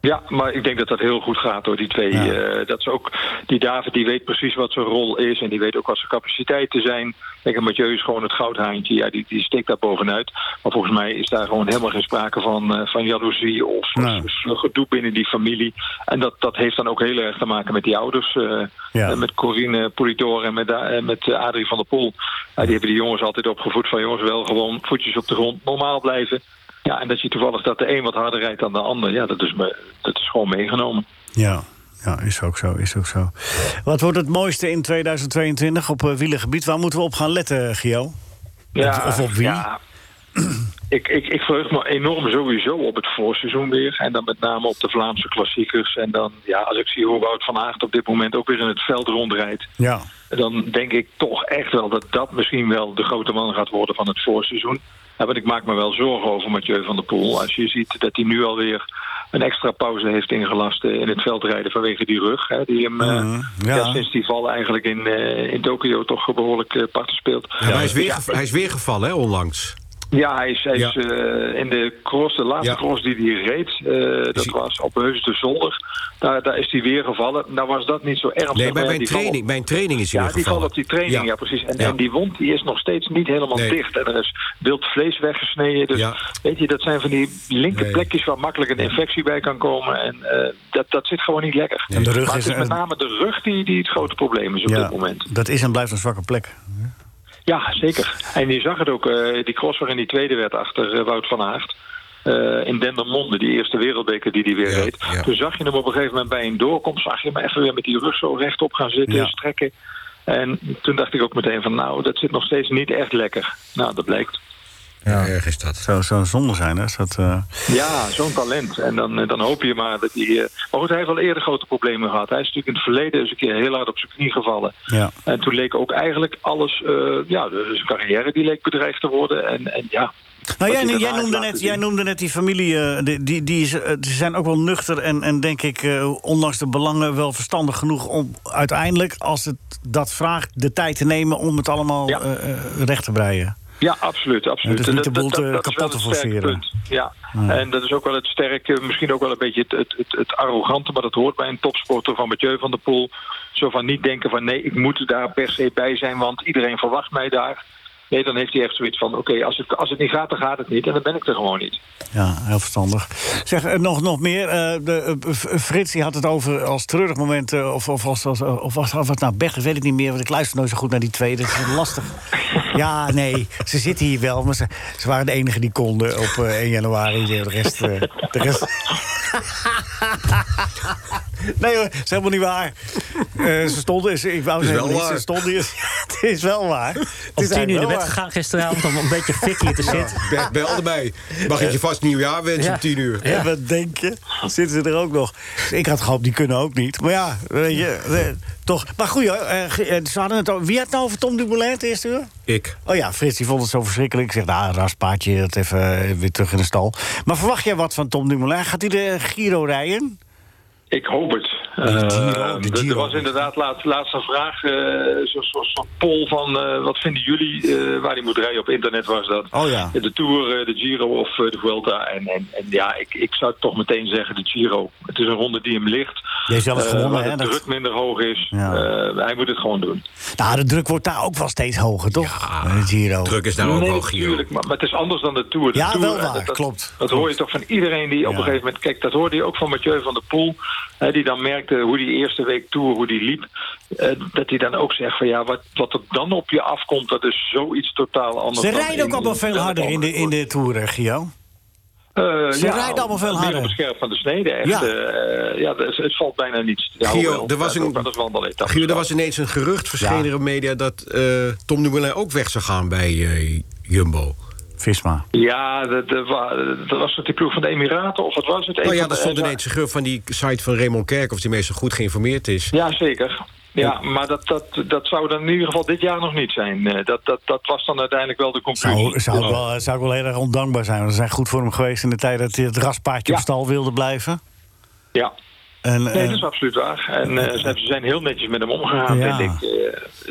Ja, maar ik denk dat dat heel goed gaat door die twee. Ja. eh, dat ze ook, die David die weet precies wat zijn rol is en die weet ook wat zijn capaciteiten zijn. Kijk, en Mathieu is gewoon het goudhaantje, ja, die, die steekt daar bovenuit. Maar volgens mij is daar gewoon helemaal geen sprake van, eh, van jaloezie of, Nee. of gedoe binnen die familie. En dat, dat heeft dan ook heel erg te maken met die ouders. eh, Ja. eh, Met Corine Polidor en met, Da- eh, met eh, Adrie van der Poel. Ja, die hebben die jongens altijd opgevoed van jongens wel gewoon voetjes op de grond, normaal blijven. Ja, en dat je toevallig dat de een wat harder rijdt dan de ander. Ja, dat is, me, dat is gewoon meegenomen. Ja. ja, is ook zo, is ook zo. Wat wordt het mooiste in 2022 op eh, wielergebied? Waar moeten we op gaan letten, eh, Gio? Of- of op wie? ja. Ik, ik, ik verheug me enorm sowieso op het voorseizoen weer. En dan met name op de Vlaamse klassiekers. En dan, ja, als ik zie hoe Wout van Aert op dit moment ook weer in het veld rondrijdt... Ja. dan denk ik toch echt wel dat dat misschien wel de grote man gaat worden van het voorseizoen. Ja, want ik maak me wel zorgen over Mathieu van der Poel. Als je ziet dat hij nu alweer een extra pauze heeft ingelast eh, in het veldrijden vanwege die rug. Hè, die hem eh, Mhm, ja. ja. sinds die val eigenlijk in, eh, in Tokio toch behoorlijk eh, parten speelt. Ja, maar hij, is weer, gev- hij is weer gevallen, hè, onlangs. Ja, hij is, hij is, Ja. eh, in de cross, de laatste Ja. cross die hij reed, eh, dat hij- was op Heus de Zolder. Daar, daar is hij weer gevallen. Nou was dat niet zo ernstig. Nee, bij maar ja, mijn die val- training, mijn training is hij Ja, weer die gevallen. valt op die training, ja, precies. En, Ja. en die wond die is nog steeds niet helemaal Nee. dicht. En er is wild vlees weggesneden. Dus Ja. weet je, dat zijn van die linker Nee. plekjes waar makkelijk een infectie bij kan komen. En eh, dat, dat zit gewoon niet lekker. En de rug maar het is is met een- name de rug die, die het grote probleem is op ja, dit moment. dat is en blijft een zwakke plek. Ja, zeker. En je zag het ook, eh, die cross waarin die tweede werd achter eh, Wout van Aert. eh, in Dendermonde, die eerste wereldbeker die hij weer Ja, reed. ja. Toen zag je hem op een gegeven moment bij een doorkomst... zag je hem even weer met die rug zo rechtop gaan zitten, Ja. strekken. En toen dacht ik ook meteen van, nou, dat zit nog steeds niet echt lekker. Nou, dat blijkt. Ja. Erg is dat. Zou zou een zonde zijn, hè? Is dat, eh, Ja, zo'n talent. En dan, eh, dan hoop je maar dat hij... eh, Maar goed, hij heeft al eerder grote problemen gehad. Hij is natuurlijk in het verleden eens een keer heel hard op zijn knie gevallen. ja. En toen leek ook eigenlijk alles... eh, ja, de- zijn carrière die leek bedreigd te worden. En, en ja... Nou, wat jij, jij, hij daarna heeft noemde laten net, zien. jij noemde net die familie. eh, die, die, die is, eh, ze zijn ook wel nuchter en, en denk ik, eh, ondanks de belangen, wel verstandig genoeg om uiteindelijk, als het dat vraagt, de tijd te nemen om het allemaal Ja. eh, eh, recht te breien. Ja, absoluut. absoluut. Ja, dus niet de En dat- boel dat- te- dat is wel kapot te het sterke forceren. punt. Ja. en dat is ook wel het sterke, misschien ook wel een beetje het, het, het, het arrogante, maar dat hoort bij een topsporter van Mathieu van der Poel. Zo van niet denken van nee, ik moet daar per se bij zijn, want iedereen verwacht mij daar. Nee, dan heeft hij echt zoiets van: oké, als, het, als het niet gaat, dan gaat het niet. En dan ben ik er gewoon niet. Ja, heel verstandig. Zeg, eh, nog, nog meer. eh, de, eh, F- Frits die had het over als treurig moment... eh, of, of, als, als, of was of het nou Berg, weet ik niet meer... want ik luister nooit zo goed naar die twee. Dat is lastig. ja, nee, ze zitten hier wel... maar ze, ze waren de enige die konden op eh, 1 januari. De rest... eh, de rest... nee hoor, is helemaal niet waar. Eh, ze stonden... Ze, ik wou is zeggen, wel niet, ze waar. stonden hier. het is wel waar. Het Om is tien uur naar eigenlijk wel bed waar. gegaan gisteravond om een beetje fik hier te zitten. Bert belde mij. Mag ik je vast nieuwjaar wensen Ja. om tien uur? Ja. En wat denk je? Zitten ze er ook nog? Dus ik had gehoopt, die kunnen ook niet. Maar ja, weet je, eh, toch. Maar goed, hoor, eh, ge- eh, ze hadden het over, wie had het nou over Tom Dumoulin het eerste uur? Ik. Oh ja, Frits, die vond het zo verschrikkelijk. Ik zeg, nou, raspaardje, het even eh, weer terug in de stal. Maar verwacht jij wat van Tom Dumoulin? Gaat hij de Giro rijden? Ik hoop het. Giro, de Eh, er- Giro. Er was inderdaad laatst, laatst een vraag, eh, zo- zo- zo'n poll van eh, wat vinden jullie eh, waar hij moet rijden op internet was dat. Oh ja. De Tour, eh, de Giro of eh, de Vuelta. En, en, en ja, ik, ik zou toch meteen zeggen de Giro. Het is een ronde die hem ligt. Jij zelf Eh, gewonnen, waar hè? de Dat- druk minder hoog is. Ja. Eh, hij moet het gewoon doen. Nou, de druk wordt daar ook wel steeds hoger, toch? Bij de Giro. Druk is daar ook Nee, wel, Giro. natuurlijk, maar, maar het is anders dan de Tour. De Ja, Tour, wel eh, waar, dat- dat- klopt. Dat hoor je toch van iedereen die op Ja. een gegeven moment... Kijk, dat hoorde je ook van Mathieu van der Poel. Hè, die dan merkte hoe die eerste week Tour, hoe die liep. eh, dat hij dan ook zegt van ja, wat, wat er dan op je afkomt... dat is zoiets totaal anders. Ze dan rijden ook in- allemaal dan veel op harder in de, andere in de Tour, eh, Gio. eh, Ze rijden allemaal veel meer harder. op het scherp van de snede. Echt, Ja. ja. ja, het, het valt bijna niets. Ja, Gio, hoewel, er was eh, een- ook wel eens wandeletappes. Gio, er was ineens een gerucht verschenen in de media... dat eh, Tom Dumoulin ook weg zou gaan bij eh, Jumbo. Visma. Ja, dat, dat wa- dat was het die ploeg van de Emiraten of wat was het? Nou Een ja, van er de- stond ineens een gerucht van die site van Raymond Kerk... of die meestal goed geïnformeerd is. Ja, zeker. Ja, maar dat, dat, dat zou dan in ieder geval dit jaar nog niet zijn. Eh, Dat, dat, dat was dan uiteindelijk wel de conclusie. Zou, zou, ik wel, eh, zou ik wel heel erg ondankbaar zijn. Want ze zijn goed voor hem geweest in de tijd dat hij het raspaardje Ja. op stal wilde blijven. Ja, En, nee, eh, dat is absoluut waar. En eh, ze hebben- ze zijn heel netjes met hem omgegaan, Ja. vind ik. Eh,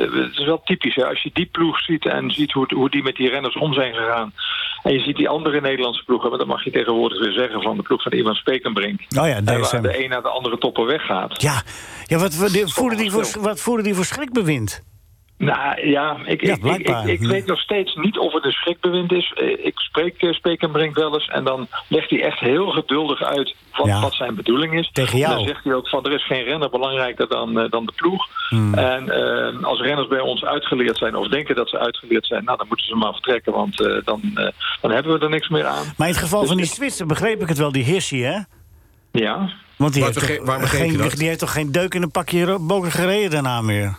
eh, het is wel typisch, hè. als je die ploeg ziet en ziet hoe, hoe die met die renners om zijn gegaan... en je ziet die andere Nederlandse ploegen, maar dat mag je tegenwoordig weer zeggen... van de ploeg van Ivan Spekenbrink. Oh ja, Eh, DSM. Waar de een naar de andere topper weggaat. Ja, ja wat, wat, die- voeren die voor, stil. wat voeren die voor schrikbewind? Nou Ja, ja, ik, ik, ik, ik, blijkbaar. ik Ja. weet nog steeds niet of het een schrikbewind is. Eh, Ik spreek eh, Spekenbrink wel eens en dan legt hij echt heel geduldig uit wat, Ja. wat zijn bedoeling is. Tegen En jou. dan zegt hij ook van er is geen renner belangrijker dan, eh, dan de ploeg. Hmm. En eh, als renners bij ons uitgeleerd zijn of denken dat ze uitgeleerd zijn, nou dan moeten ze maar vertrekken, want eh, dan, eh, dan hebben we er niks meer aan. Maar in het geval Dus van die ik- Zwitser begreep ik het wel, die Hirschi, hè? Ja. Want die Waar heeft, begreep- toch, waar begreep je geen, dat? die heeft toch geen deuk in een pakje ro- boken gereden daarna meer?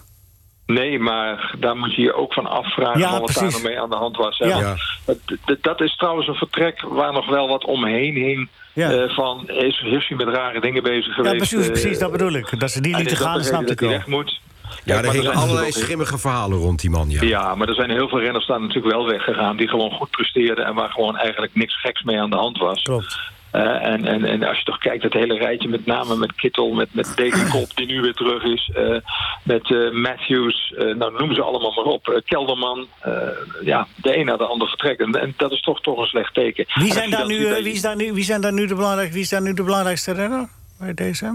Nee, maar daar moet je je ook van afvragen Ja, van wat daar precies. nou mee aan de hand was. hè. Ja. Ja. Dat- dat- Dat is trouwens een vertrek waar nog wel wat omheen hing. Ja. eh, van is Hussie met rare dingen bezig Ja, geweest? precies, eh, precies, dat bedoel ik. Dat ze die en lieten is dat gaan, de snap reden ik dat wel. hij weg moet? Ja, Kijk, er maar gingen zijn allerlei natuurlijk ook- schimmige verhalen rond die man, ja. Ja, maar er zijn heel veel renners daar natuurlijk wel weggegaan... die gewoon goed presteerden en waar gewoon eigenlijk niks geks mee aan de hand was. Klopt. Eh, en, en, en als je toch kijkt, dat hele rijtje met name met Kittel, met, met Degenkop die nu weer terug is, eh, met eh, Matthews, eh, nou noem ze allemaal maar op, Eh, Kelderman, eh, ja, de een naar de ander vertrekt. En, en dat is toch, toch een slecht teken. En Wie als zijn je daar dat nu, ziet eh, bij- wie is daar nu, wie zijn daar nu, de, belangrijk, wie is daar nu de belangrijkste renner bij DSM?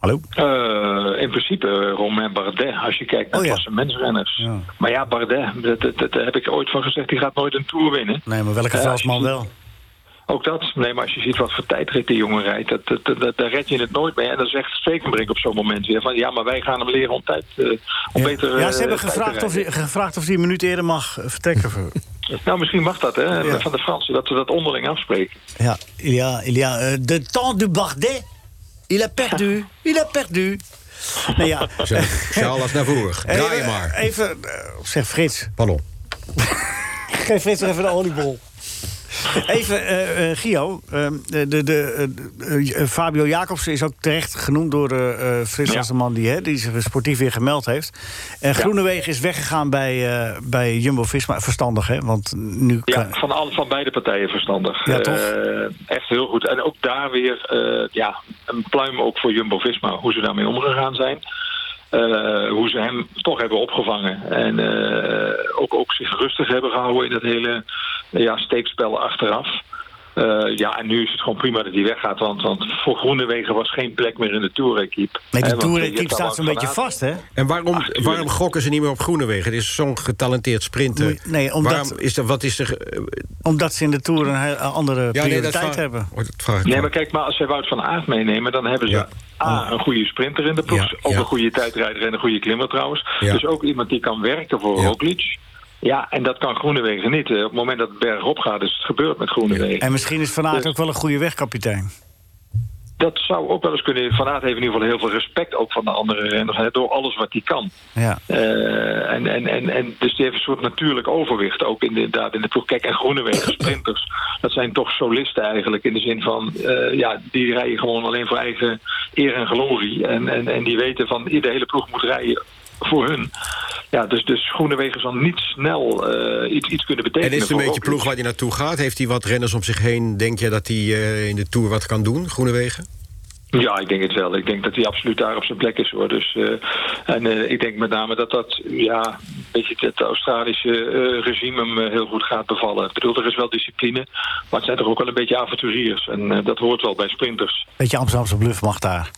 Hallo? Eh, in principe eh, Romain Bardet, als je kijkt naar Oh ja. klassementsrenners. Ja. Maar ja, Bardet, dat, dat, dat heb ik ooit van gezegd, die gaat nooit een Tour winnen. Nee, maar welke Eh, Fransman als je- wel? Ook dat. Nee, maar als je ziet wat voor tijdrit die jongen rijdt, dat, dat, dat- dat- daar red je het nooit mee. En dan zegt Stekenbrink op zo'n moment weer van... ja, maar wij gaan hem leren om tijd... eh, om beter, Ja, eh, ze hebben tijd te gevraagd of, rijden. die, gevraagd of die een minuut eerder mag eh, vertrekken. Nou, misschien mag dat, hè, Ja. van de Fransen, dat ze dat onderling afspreken. Ja, il y a, il y a euh, de temps du Bardet. Il a perdu, il a perdu. Nou ja. Zo, Charles naar voren. Draai even, maar. Even, eh, zeg Frits, Pardon. Geef Frits even een oliebol. Even, eh, eh, Gio. eh, de, de, de, eh, eh, Fabio Jacobsen is ook terecht genoemd door eh, eh, Frits Ja. als de man die, hè, die zich sportief weer gemeld heeft. En Groenewegen is weggegaan bij, eh, bij Jumbo-Visma. Verstandig, hè? Want nu... Ja, kan- van, al- van beide partijen verstandig. eh, Ja, toch? Eh, echt heel goed. En ook daar weer eh, ja, een pluim ook voor Jumbo-Visma... hoe ze daarmee omgegaan zijn. Eh, hoe ze hem toch hebben opgevangen. En eh, ook, ook zich rustig hebben gehouden in dat hele ja, steekspel achteraf. Eh, ja, en nu is het gewoon prima dat hij weggaat. Want, want voor Groenewegen was geen plek meer in de Tour-equipe. Nee, Hè, die want eh, je tour hebt daar staat zo'n lang beetje van vast, hè? En waarom, tuurlijk. waarom gokken ze niet meer op Groenewegen? Het is zo'n getalenteerd sprinter. Moet- nee, omdat- Waarom is er, wat is er... eh, Omdat ze in de Tour een heel- een andere ja, nee, dat prioriteit vraag- hebben. Oh, dat vraag ik Nee, me. maar kijk, maar als zij Wout van Aert meenemen... dan hebben ze Ja. Oh. A, een goede sprinter in de ploeg. Ja, ook ja. een goede tijdrijder en een goede klimmer trouwens. Ja. Dus ook iemand die kan werken voor Ja. Roglic. Ja, en dat kan Groenewegen niet. Eh, Op het moment dat het bergop gaat, is het gebeurd met Groenewegen. En misschien is Van Aert ook wel een goede wegkapitein. Dat zou ook wel eens kunnen. Van Aert heeft in ieder geval heel veel respect ook van de andere renners... hè, door alles wat hij kan. Ja. Eh, en, en, en, en dus die heeft een soort natuurlijk overwicht ook in de, inderdaad in de ploeg. Kijk, en Groenewegen, sprinters, dat zijn toch solisten eigenlijk. In de zin van, eh, ja, die rijden gewoon alleen voor eigen eer en glorie. En, en, en die weten van, de hele ploeg moet rijden voor hun. Ja, dus, dus Groenewegen zal niet snel eh, iets, iets kunnen En betekenen. is het een voor beetje Roglic. ploeg waar hij naartoe gaat? Heeft hij wat renners om zich heen? Denk je dat hij eh, in de Tour wat kan doen, Groenewegen? Ja, ik denk het wel. Ik denk dat hij absoluut daar op zijn plek is hoor. Dus, eh, en eh, ik denk met name dat dat ja, een beetje het Australische eh, regime hem eh, heel goed gaat bevallen. Ik bedoel, er is wel discipline, maar het zijn toch ook wel een beetje avonturiers. En eh, dat hoort wel bij sprinters. Beetje Amsterdamse bluff mag daar.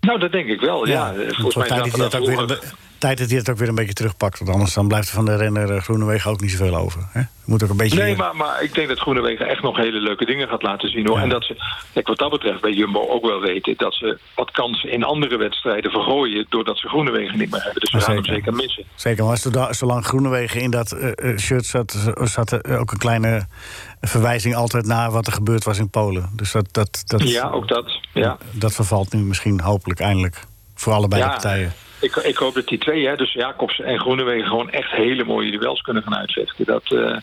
Nou, dat denk ik wel. Ja, het Eh, wordt volgens mij tijd zaten dat hij dat daar ook weer een vroeger- be- tijd dat hij het ook weer een beetje terugpakt. Want anders dan blijft er van de renner eh, Groenewegen ook niet zoveel over. Hè? Moet ook een beetje... Nee, maar, maar ik denk dat Groenewegen echt nog hele leuke dingen gaat laten zien. Hoor. Ja. En dat ze, kijk, wat dat betreft, bij Jumbo ook wel weten... dat ze wat kansen in andere wedstrijden vergooien... doordat ze Groenewegen niet meer hebben. Dus we Maar gaan hem zeker. zeker missen. Zeker, maar zoda- zolang Groenewegen in dat eh, eh, shirt zat... z- zat er eh, ook een kleine verwijzing altijd naar wat er gebeurd was in Polen. Dus dat, dat, dat, Ja, ook dat. Ja. dat vervalt nu misschien hopelijk eindelijk. Voor allebei de partijen. Ik, ik hoop dat die twee, hè, dus Jacobs en Groenewegen, gewoon echt hele mooie duels kunnen gaan uitvechten. Dat, eh,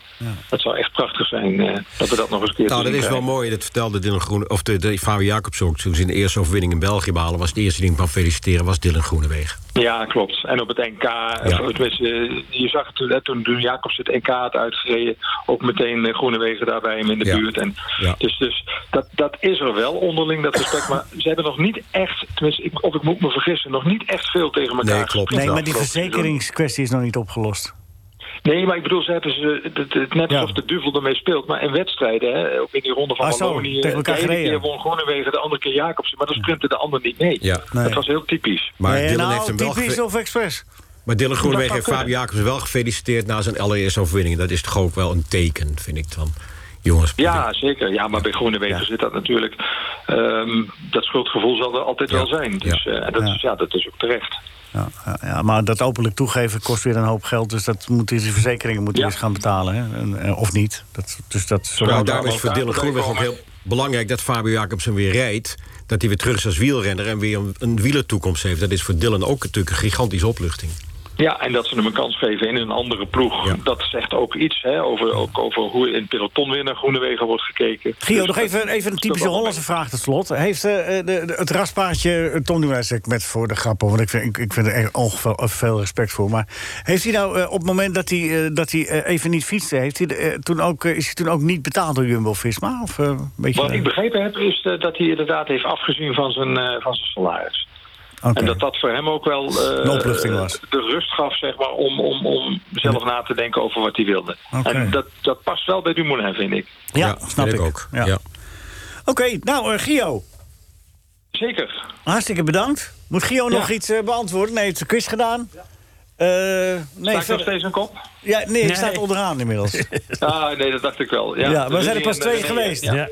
dat zou echt prachtig zijn eh, dat we dat nog eens een keer Nou, te dat zien is wel krijgen. mooi. Dat vertelde Dylan Groene, of de, de Fabio Jacobs ook toen ze in de eerste overwinning in België behalen. Was de eerste die ik kwam feliciteren was Dylan Groenewegen. Ja, klopt. En op het NK, eh, of tenminste, eh, je zag het toen, hè, toen toen Jacobs het NK had uitgereden, ook meteen eh, Groenewegen daar bij hem in de Ja. buurt. En, Ja. Dus, dus dat, dat is er wel onderling, dat respect. Maar ze hebben nog niet echt, tenminste, ik, of ik moet me vergissen, nog niet echt veel tegen elkaar Nee, klopt. gespeeld Nee, maar die afgelopen seizoen. verzekeringskwestie is nog niet opgelost. Nee, maar ik bedoel, ze hebben ze, het- het, het net Ja. alsof de duvel ermee speelt. Maar in wedstrijden, hè, ook in die ronde van Ah, zo, Wallonië... tegen elkaar de ene gereden. keer won Groenewegen, de andere keer Jacobsen. Maar dan sprintte de ander niet mee. Ja. Nee. Dat was heel typisch. Maar nee, Dylan nou, heeft hem wel typisch gefe- of expres? Maar Dylan Groenewegen Dat heeft zou Fabio Jacobs wel gefeliciteerd na zijn allereerste overwinning. Dat is toch ook wel een teken, vind ik dan. Jongens, Ja, zeker. Ja, maar bij Groenewegen Ja. zit dat natuurlijk... ehm, dat schuldgevoel zal er altijd Ja. wel zijn. Dus, Ja. eh, en dat, Ja. Is, ja, dat is ook terecht. Ja, ja, ja, maar dat openlijk toegeven kost weer een hoop geld. Dus dat moet die verzekeringen moeten Ja. eens gaan betalen. Hè? En, eh, of niet. Dat, dus dat zo Nou, Nou, daarom is daar voor moet Dylan daar Groenewegen ook komen. heel belangrijk dat Fabio Jacobsen weer rijdt. Dat hij weer terug is als wielrenner en weer een, een wielertoekomst heeft. Dat is voor Dylan ook natuurlijk een gigantische opluchting. Ja, en dat ze hem een kans geven in een andere ploeg. Ja. Dat zegt ook iets hè, over, ook over hoe in het peloton weer naar Groenewegen wordt gekeken. Gio, Dus nog dat- even, even een dat is typische ook wel- Hollandse vraag tot slot. Heeft eh, eh, de, de- het raspaardje eh, Tom Dumoulin, zeg ik met voor de grap, hoor, want ik vind, ik, ik vind er echt ongeveer eh, veel respect voor. Maar heeft hij nou eh, op het moment dat hij, eh, dat hij eh, even niet fietste, heeft hij, de- eh, toen ook, eh, is hij toen ook niet betaald door Jumbo-Visma? Of eh, een beetje? Wat ik begrepen heb, is eh, dat hij inderdaad heeft afgezien van zijn, eh, van zijn salaris. Oké. En dat dat voor hem ook wel eh, Een opluchting was. de rust gaf, zeg maar, om, om, om zelf na te denken over wat hij wilde. Oké. En dat, dat past wel bij Dumoulin, vind ik. ja, snap vind ik. ook. Ja. Ja. Oké, nou eh, Gio, Zeker. hartstikke bedankt. Moet Gio nog iets eh, beantwoorden? Nee, heeft de quiz gedaan. Eh, nee, Maakt nog verder- steeds een kop? ja, nee, het staat onderaan inmiddels. Ah, nee, dat dacht ik wel. Ja, Ja, maar Dus er zijn er die pas en- twee en- geweest. Ja.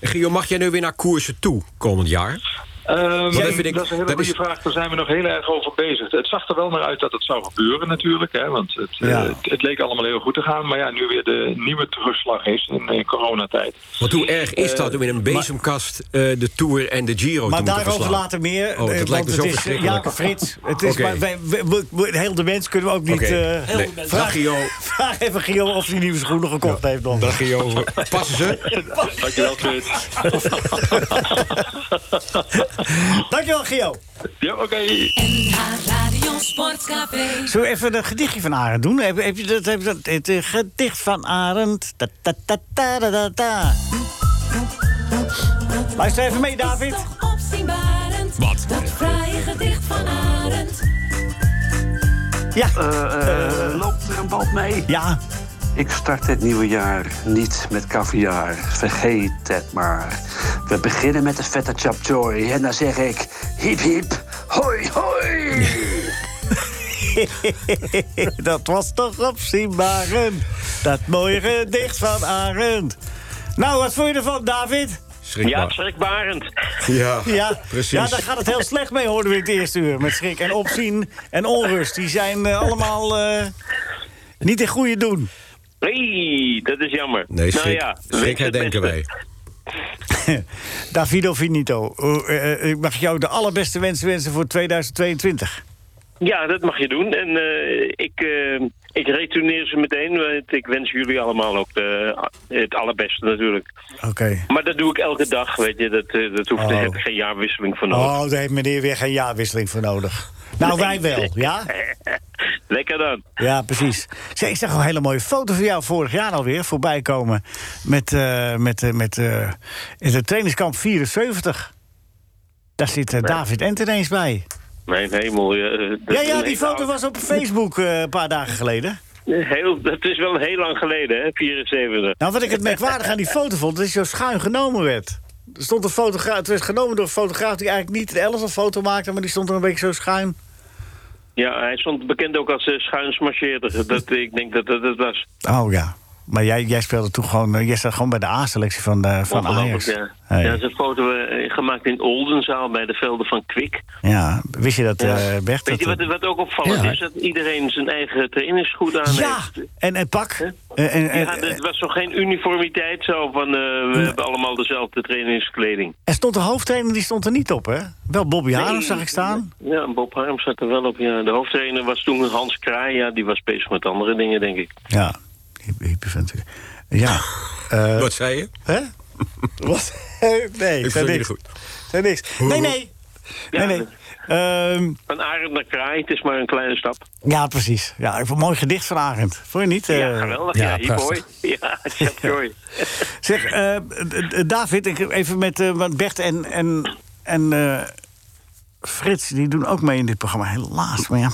Gio, mag jij nu weer naar koersen toe komend jaar? Ehm, dat vind ik- dat is een hele dat goede is- vraag. Daar zijn we nog heel erg over bezig. Het zag er wel naar uit dat het zou gebeuren natuurlijk. Hè, want het, eh, Ja. het, het leek allemaal heel goed te gaan. Maar ja, nu weer de nieuwe terugslag is in, eh, coronatijd. Eh, Want hoe erg is dat om in een bezemkast eh, de Tour en de Giro Eh, te Maar moeten daarover verslaan? later meer. Oh, eh, dat want lijkt me zo het is, eh, verschrikkelijk. ja, Frits, het is, Oké. maar wij, we- we- we- heel de mens kunnen we ook niet... Oké. eh, Heel de mens. Dag, Gio. vraag even Gio of hij nieuwe schoenen gekocht heeft nog. Dag Gio, passen ze? Dankjewel, Frits. Dankjewel, Gio. Ja, oké. NH Radio Sportcafé. Zullen we even een gedichtje van Arend doen? Heb, heb je dat, heb je dat, het eh, gedicht van Arend. Ta, ta, ta, ta, da, da, ta. Luister even mee, David. Is toch opzienbarend. Wat? Dat fraaie gedicht van Arend. Ja, Eh, Loopt er een band mee? ja. Ik start het nieuwe jaar niet met caviar. Vergeet het maar. We beginnen met de feta chapchoy. En dan zeg ik... Hip hip, hoi hoi! dat was toch opzienbarend. Dat mooie gedicht van Arend. Nou, wat vond je ervan, David? Schrikbaar. schrikbarend. Ja, Ja, precies. ja, daar gaat het heel slecht mee, hoorden we in het eerste uur. Met schrik en opzien en onrust. Die zijn eh, allemaal eh, niet in goede doen. Hey, dat is jammer. Nou Nee, schrik, schrik herdenken wij. Davido Finito, eh, eh, ik mag jou de allerbeste wensen wensen voor 2022. Ja, dat mag je doen. En eh, ik, eh, ik retourneer ze meteen. Want ik wens jullie allemaal ook de, het allerbeste natuurlijk. Oké. Maar dat doe ik elke dag, weet je. Dat, eh, dat hoeft, Oh. daar heb ik geen jaarwisseling voor nodig. Oh, daar heeft meneer weer geen jaarwisseling voor nodig. Nou, wij wel, ja? Lekker dan. Ja, precies. Zeg, ik zag een hele mooie foto van jou vorig jaar alweer voorbij komen. Met, eh, met, eh, met eh, is het trainingskamp 74. Daar zit eh, David Ent ineens bij. Mijn hemel. eh, dat Ja, is ja, een die hele foto oude- was op Facebook eh, een paar dagen geleden. Heel, dat is wel heel lang geleden, hè? 74. Nou, wat ik het merkwaardig aan die foto vond, dat hij zo schuin genomen werd. Er stond een fotograaf, het werd genomen door een fotograaf die eigenlijk niet de Ellis een foto maakte, maar die stond er een beetje zo schuin. Ja, hij stond bekend ook als eh, schuinsmarcheerder. Dat, ik denk dat dat het was. Oh ja. Maar jij, jij speelde toen gewoon, eh, jij zat gewoon bij de A-selectie van, eh van Ongelooflijk, Ajax. Ah, ja. Hey. Ja, zijn foto eh, gemaakt in Oldenzaal bij de velden van Kwik. Ja, wist je dat, eh Bert? Weet je dat- wat, wat ook opvallend Ja. is? Dat iedereen zijn eigen trainingsgoed aan ja, heeft. en, en pak. eh, En, en, en- Ja, het was toch geen uniformiteit zo van eh, we hebben allemaal dezelfde trainingskleding. er stond de hoofdtrainer, die stond er niet op, hè? Wel Bobby Harms zag ik staan. Ja, Bob Harm zat er wel op. Ja. De hoofdtrainer was toen Hans Kraai. Ja, die was bezig met andere dingen, denk ik. Ja, hippe hippe vent. Ja. eh, Wat zei je? hè? Wat? Nee, Ik zei vind jullie niks. goed. Zei niks. Nee, nee. Nee, Ja. nee. Ehm, Van Arend naar Kraai, het is maar een kleine stap. ja, precies. Ja, ik vond een mooi gedicht van Arend. Vond je niet? ja, eh? geweldig. ja, Ja, ja boy. Ja, Chapjoy. Zeg, eh, eh, eh, David, ik heb even met eh, want Bert en, en, en eh, Frits, die doen ook mee in dit programma. Helaas, maar ja.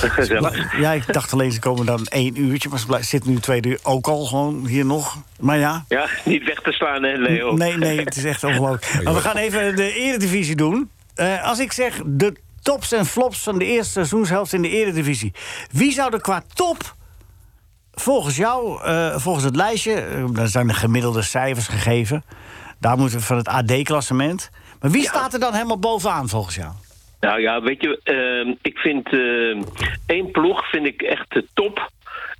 Gezellig. Ja, ik dacht alleen, ze komen dan één uurtje, maar ze blij- zitten nu twee uur ook al gewoon hier nog. Maar ja, Ja, niet weg te slaan, hè, Leo. nee, nee, het is echt ongelooflijk. Maar we gaan even de eredivisie doen. Eh, als ik zeg de tops en flops van de eerste seizoenshelft in de eredivisie. Wie zou er qua top, volgens jou, eh, volgens het lijstje... eh, daar zijn de gemiddelde cijfers gegeven. Daar moeten we van het AD-klassement. Maar wie staat er dan helemaal bovenaan, volgens jou? Nou ja, weet je, ehm, ik vind ehm, één ploeg vind ik echt de top.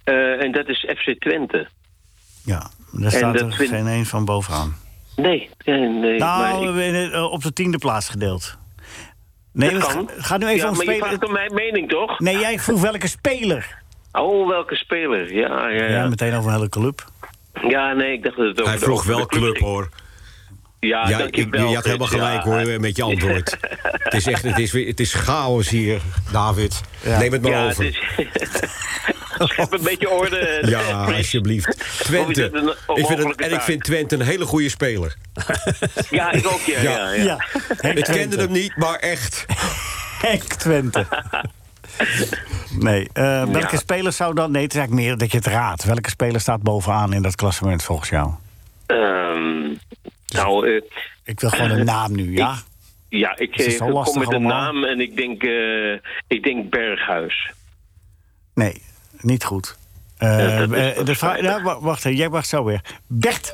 Eh, en dat is FC Twente. Ja, daar staat dat er vind- geen één van bovenaan. Nee, nee, nee. maar Nou, ik- we zijn, eh, op de tiende plaats gedeeld. Nee, dat het kan. ga- gaat nu even ja, om maar je vraagt spelen. om mijn mening, toch? Nee, jij vroeg welke speler. Oh, welke speler. Ja, ja, Ja, ja. meteen over een hele club. Ja, nee, ik dacht dat het ook... Hij vroeg over de wel club, ging. hoor. Ja, Ja, ik, dankjewel. je had helemaal Frits. gelijk, Ja. hoor, met je antwoord. het, is echt, het, is, weer- het is chaos hier, David. Neem het maar Ja, het over. is... Schep een beetje orde. eh, Ja, Frits. alsjeblieft. Of is Twente. het een Ik vind het, onmogelijke en ik taak? vind Twente een hele goede speler. Ja, ik ook, ja. ja, ja. Ja, Henk Ik Twente. kende hem niet, maar echt. Henk Twente. nee, eh, welke speler zou dan... Nee, het is eigenlijk meer dat je het raadt. Welke speler staat bovenaan in dat klassement volgens jou? Ehm, nou, eh, Ik wil gewoon een naam nu, ja? ja, ik Is het eh, zo kom lastig met een allemaal? naam en ik denk, eh, ik denk Berghuis. Nee, niet goed. Eh, Ja, dat is eh, de vraag, nou, wa- wacht, hè, jij mag zo weer. Bert,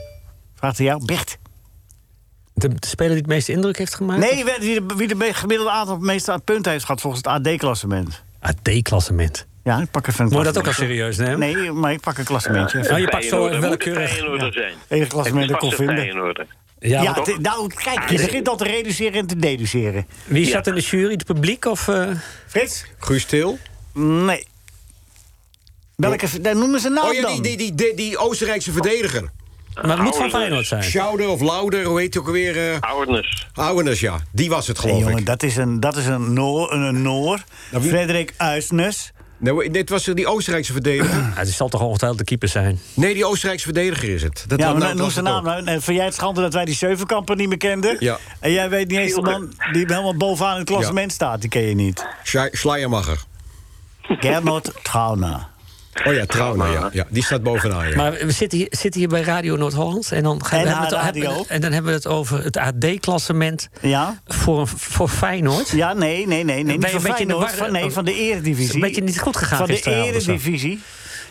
vraagt hij jou. Bert. de, de speler die het meeste indruk heeft gemaakt? Nee, wie- wie de, wie de me- gemiddelde aantal meeste punten heeft gehad volgens het AD-klassement. AD-klassement. Ja, ik pak even een Ah, Moet je dat ook al klassement. serieus nemen? Nee, maar ik pak een klassementje. Oh, Het je pakt zo Feyenoorder moet willekeurig. Feyenoorder zijn. enige klassement dat ik kon Het is vast een vinden. Feyenoorder. Ja, Ja, want het- nou, kijk, je begint al te reduceren en te deduceren. wie ja. zat in de jury? Het publiek of... eh, Frits? Guus Til? Nee. Welke, daar noemen ze Oh nou ja, die, dan? die, die, die, die Oostenrijkse verdediger. maar het moet van Oude- Feyenoord zijn. Schouder of Lauder, hoe heet hij ook alweer? eh Oudness. Ouwenes, ja. Die was het, Nee, geloof jongen, ik. dat is een, dat is een Noor. Een, een Noor. Nou, wie- Frederik Uisnes. Nee, Nou, dit was die Oostenrijkse verdediger. Ja, het Ah, zal toch ongetwijfeld de keeper zijn. Nee, die Oostenrijkse verdediger is het. Dat Ja, dat- maar dat noem was zijn het naam ook. nou. En vind jij het schande dat wij die Zevenkampen niet meer kenden? Ja. En jij weet niet eens de man die helemaal bovenaan het klassement staat. Die ken je niet. Scha- Schleiermacher. Gernot Trauner. Oh ja, Trauner, ja. ja. Die staat bovenaan, ja. Maar we zitten hier, zitten hier bij Radio Noord-Holland. En, dan gaan En we hebben het- haar radio. hebben- en dan hebben we het over het AD-klassement Ja? voor, voor Feyenoord. Ja, nee, nee, nee. nee Ben niet je van een beetje in de Feyenoord, war- van, nee, van de eredivisie. Is een beetje niet goed gegaan Van de gisteravond of zo. eredivisie.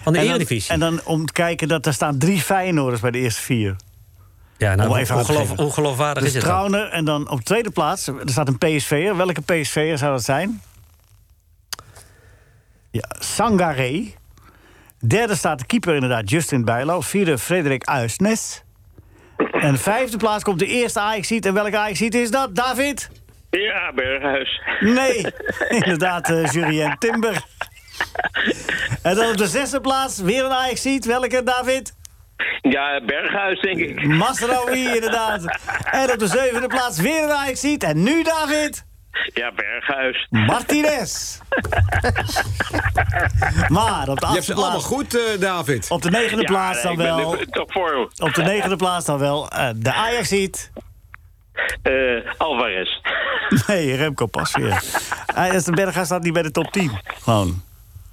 Van de En dan- Eredivisie. En dan om te kijken dat er staan drie Feyenoorders bij de eerste vier. ja, nou, Om Oh, even aan te ongeloof, geven. ongeloofwaardig Dus is het dan. Trauner en dan op tweede plaats, er staat een PSV'er. Welke PSV'er zou dat zijn? Ja, Sangaré. Derde staat de keeper inderdaad, Justin Bijlo. Vierde, Frederik Uisnes. En vijfde plaats komt de eerste ajax En welke ajax is dat, David? Ja, Berghuis. Nee, inderdaad, eh Jurien Timber. En dan op de zesde plaats weer een ajax Welke, David? Ja, Berghuis, denk ik. Masraoui, inderdaad. En op de zevende plaats weer een ajax En nu, David? Ja, Berghuis. Martinez. maar op de Je hebt ze achtste allemaal plaats... goed, eh, David. Op de negende Ja, plaats nee, dan ik ben wel... de- Top voor Op de negende plaats dan wel eh, de ajax eh Alvarez. Nee, Remco Pasveer. Hij de Berghuis staat niet bij de top 10. Gewoon.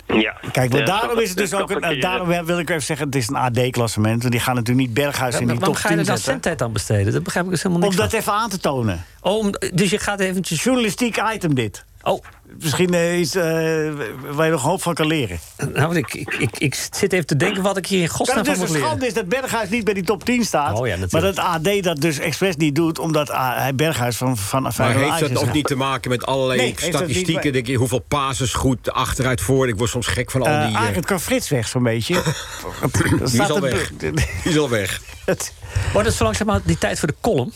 Ja. Kijk, maar Ja, daarom stop- is het dus stop ook... Een, keer. eh, daarom wil ik even zeggen, het is een AD-klassement. want Die gaan natuurlijk niet Berghuis in die Waarom top ga je er 10 dan zetten. zendtijd aan besteden? Dat begrijp ik dus helemaal Om niks dat van. even aan te tonen. Oh, om- dus je gaat eventjes... Journalistiek item dit. Oh, Misschien eh, iets eh, waar je nog een hoop van kan leren. nou, want ik, ik, ik, ik zit even te denken wat ik hier in Dat godsnaam het van dus moet een leren. schande is dat Berghuis niet bij die top 10 staat. Oh ja, natuurlijk. maar dat AD dat dus expres niet doet, omdat ah, hij Berghuis van van Maar van heeft dat ook niet te maken met allerlei Nee, heeft dat niet bij- statistieken? Denk je, hoeveel pases goed, achteruit, voor? Ik word soms gek van al die... eh, Arend kan Frits weg zo'n beetje. die die is al weg. Die is al weg. Wordt het zo langzamerhand die tijd voor de column?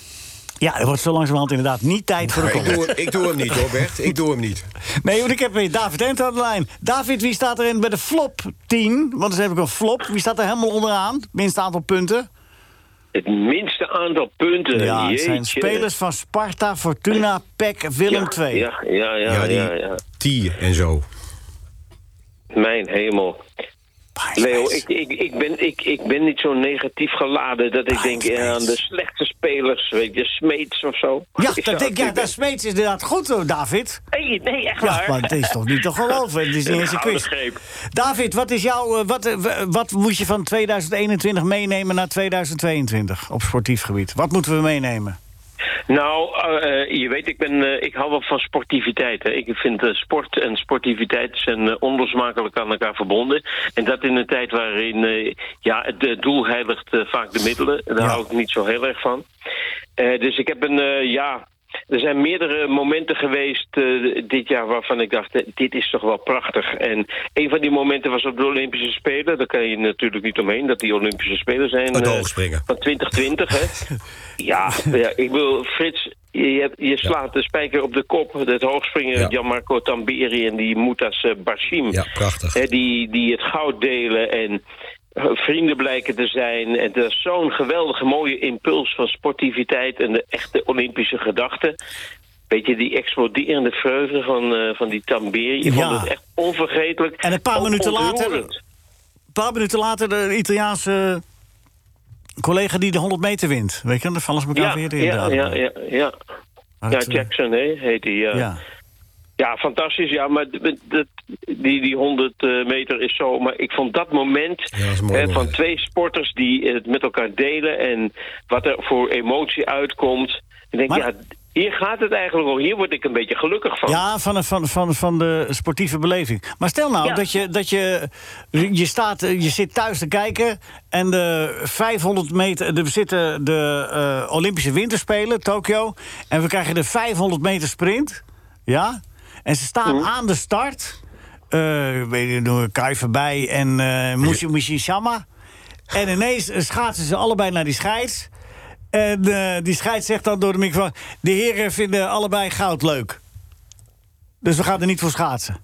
Ja, er wordt zo langzamerhand inderdaad niet tijd voor de Ik column. doe, hem- ik doe hem niet hoor, Bert. Ik doe hem niet. Nee, want ik heb weer David Ent aan de lijn. David, wie staat er in bij de flop 10? Want dan heb ik een flop. Wie staat er helemaal onderaan? Minste aantal punten. Het minste aantal punten. Ja, het zijn Eh, jeetje. spelers van Sparta, Fortuna, PEC, Willem ja, II. Ja, ja, ja, Ja, ja, die- ja. T en zo. Mijn hemel. Leo, ik, ik, ik, ben, ik, ik ben niet zo negatief geladen dat Ah, ik denk eh, aan de slechte spelers, weet je, Smeets of zo. Ja, Is dat, denk, ja, het- dat Smeets is inderdaad goed, hoor, David. Nee, nee, echt Ja, waar. maar het is toch niet te geloven? Het is niet eens een Gouden quiz. greep. David, wat, is jouw, eh, wat, eh, w- wat moet je van 2021 meenemen naar 2022 op sportief gebied? Wat moeten we meenemen? Nou, eh, eh, je weet, ik, ben, eh, ik hou wel van sportiviteit. Hè. Ik vind eh, sport en sportiviteit zijn eh, onlosmakelijk aan elkaar verbonden. En dat in een tijd waarin eh, ja, het eh, doel heiligt eh, vaak de middelen. Daar Ja. hou ik niet zo heel erg van. Eh, dus ik heb een, eh, ja... Er zijn meerdere momenten geweest eh, dit jaar waarvan ik dacht, eh, dit is toch wel prachtig. En een van die momenten was op de Olympische Spelen. Daar kan je natuurlijk niet omheen dat die Olympische Spelen zijn. Het eh, hoogspringen. Van 2020, hè. Ja, ja, ik bedoel, Frits, je, hebt- je slaat de spijker op de kop. Het hoogspringen, Ja. Gianmarco Tambiri en die Moutas eh, Bashim. Ja, prachtig. Hè, die, die het goud delen en eh, vrienden blijken te zijn. En dat is zo'n geweldige mooie impuls van sportiviteit en de echte Olympische gedachte. Weet je, die exploderende vreugde van, eh, van die Tambiri. Ik Ja. vond het echt onvergetelijk. En een paar Ook minuten later- ontroerend. Een paar minuten later de Italiaanse collega die de 100 meter wint. Weet je, dan vallen ze elkaar Ja, weer in. ja, ja, ja, ja. Maar Ja, het, eh, Jackson hè, heet hij. Ja. ja. Ja. fantastisch. Ja, maar d- d- dat, die, die 100 eh, meter is zo. Maar ik vond dat moment, Ja, dat is een mooi hè, van moment. twee sporters die het met elkaar delen en wat er voor emotie uitkomt. Ik denk, Maar- ja, Hier gaat het eigenlijk om. Hier word ik een beetje gelukkig van. Ja, van, van, van, van de sportieve beleving. Maar stel nou Ja. dat, je, dat je, je, staat, eh, je zit thuis te kijken... en de 500 meter, er zitten de eh, Olympische Winterspelen, Tokio... en we krijgen de 500 meter sprint, ja? En ze staan Mhm. aan de start. Eh weet je, Kai voorbij en eh Mushi Mushi Shama. En ineens eh, schaatsen ze allebei naar die scheids... En eh, die scheids zegt dan door de microfoon... de heren vinden allebei goud leuk. Dus we gaan er niet voor schaatsen.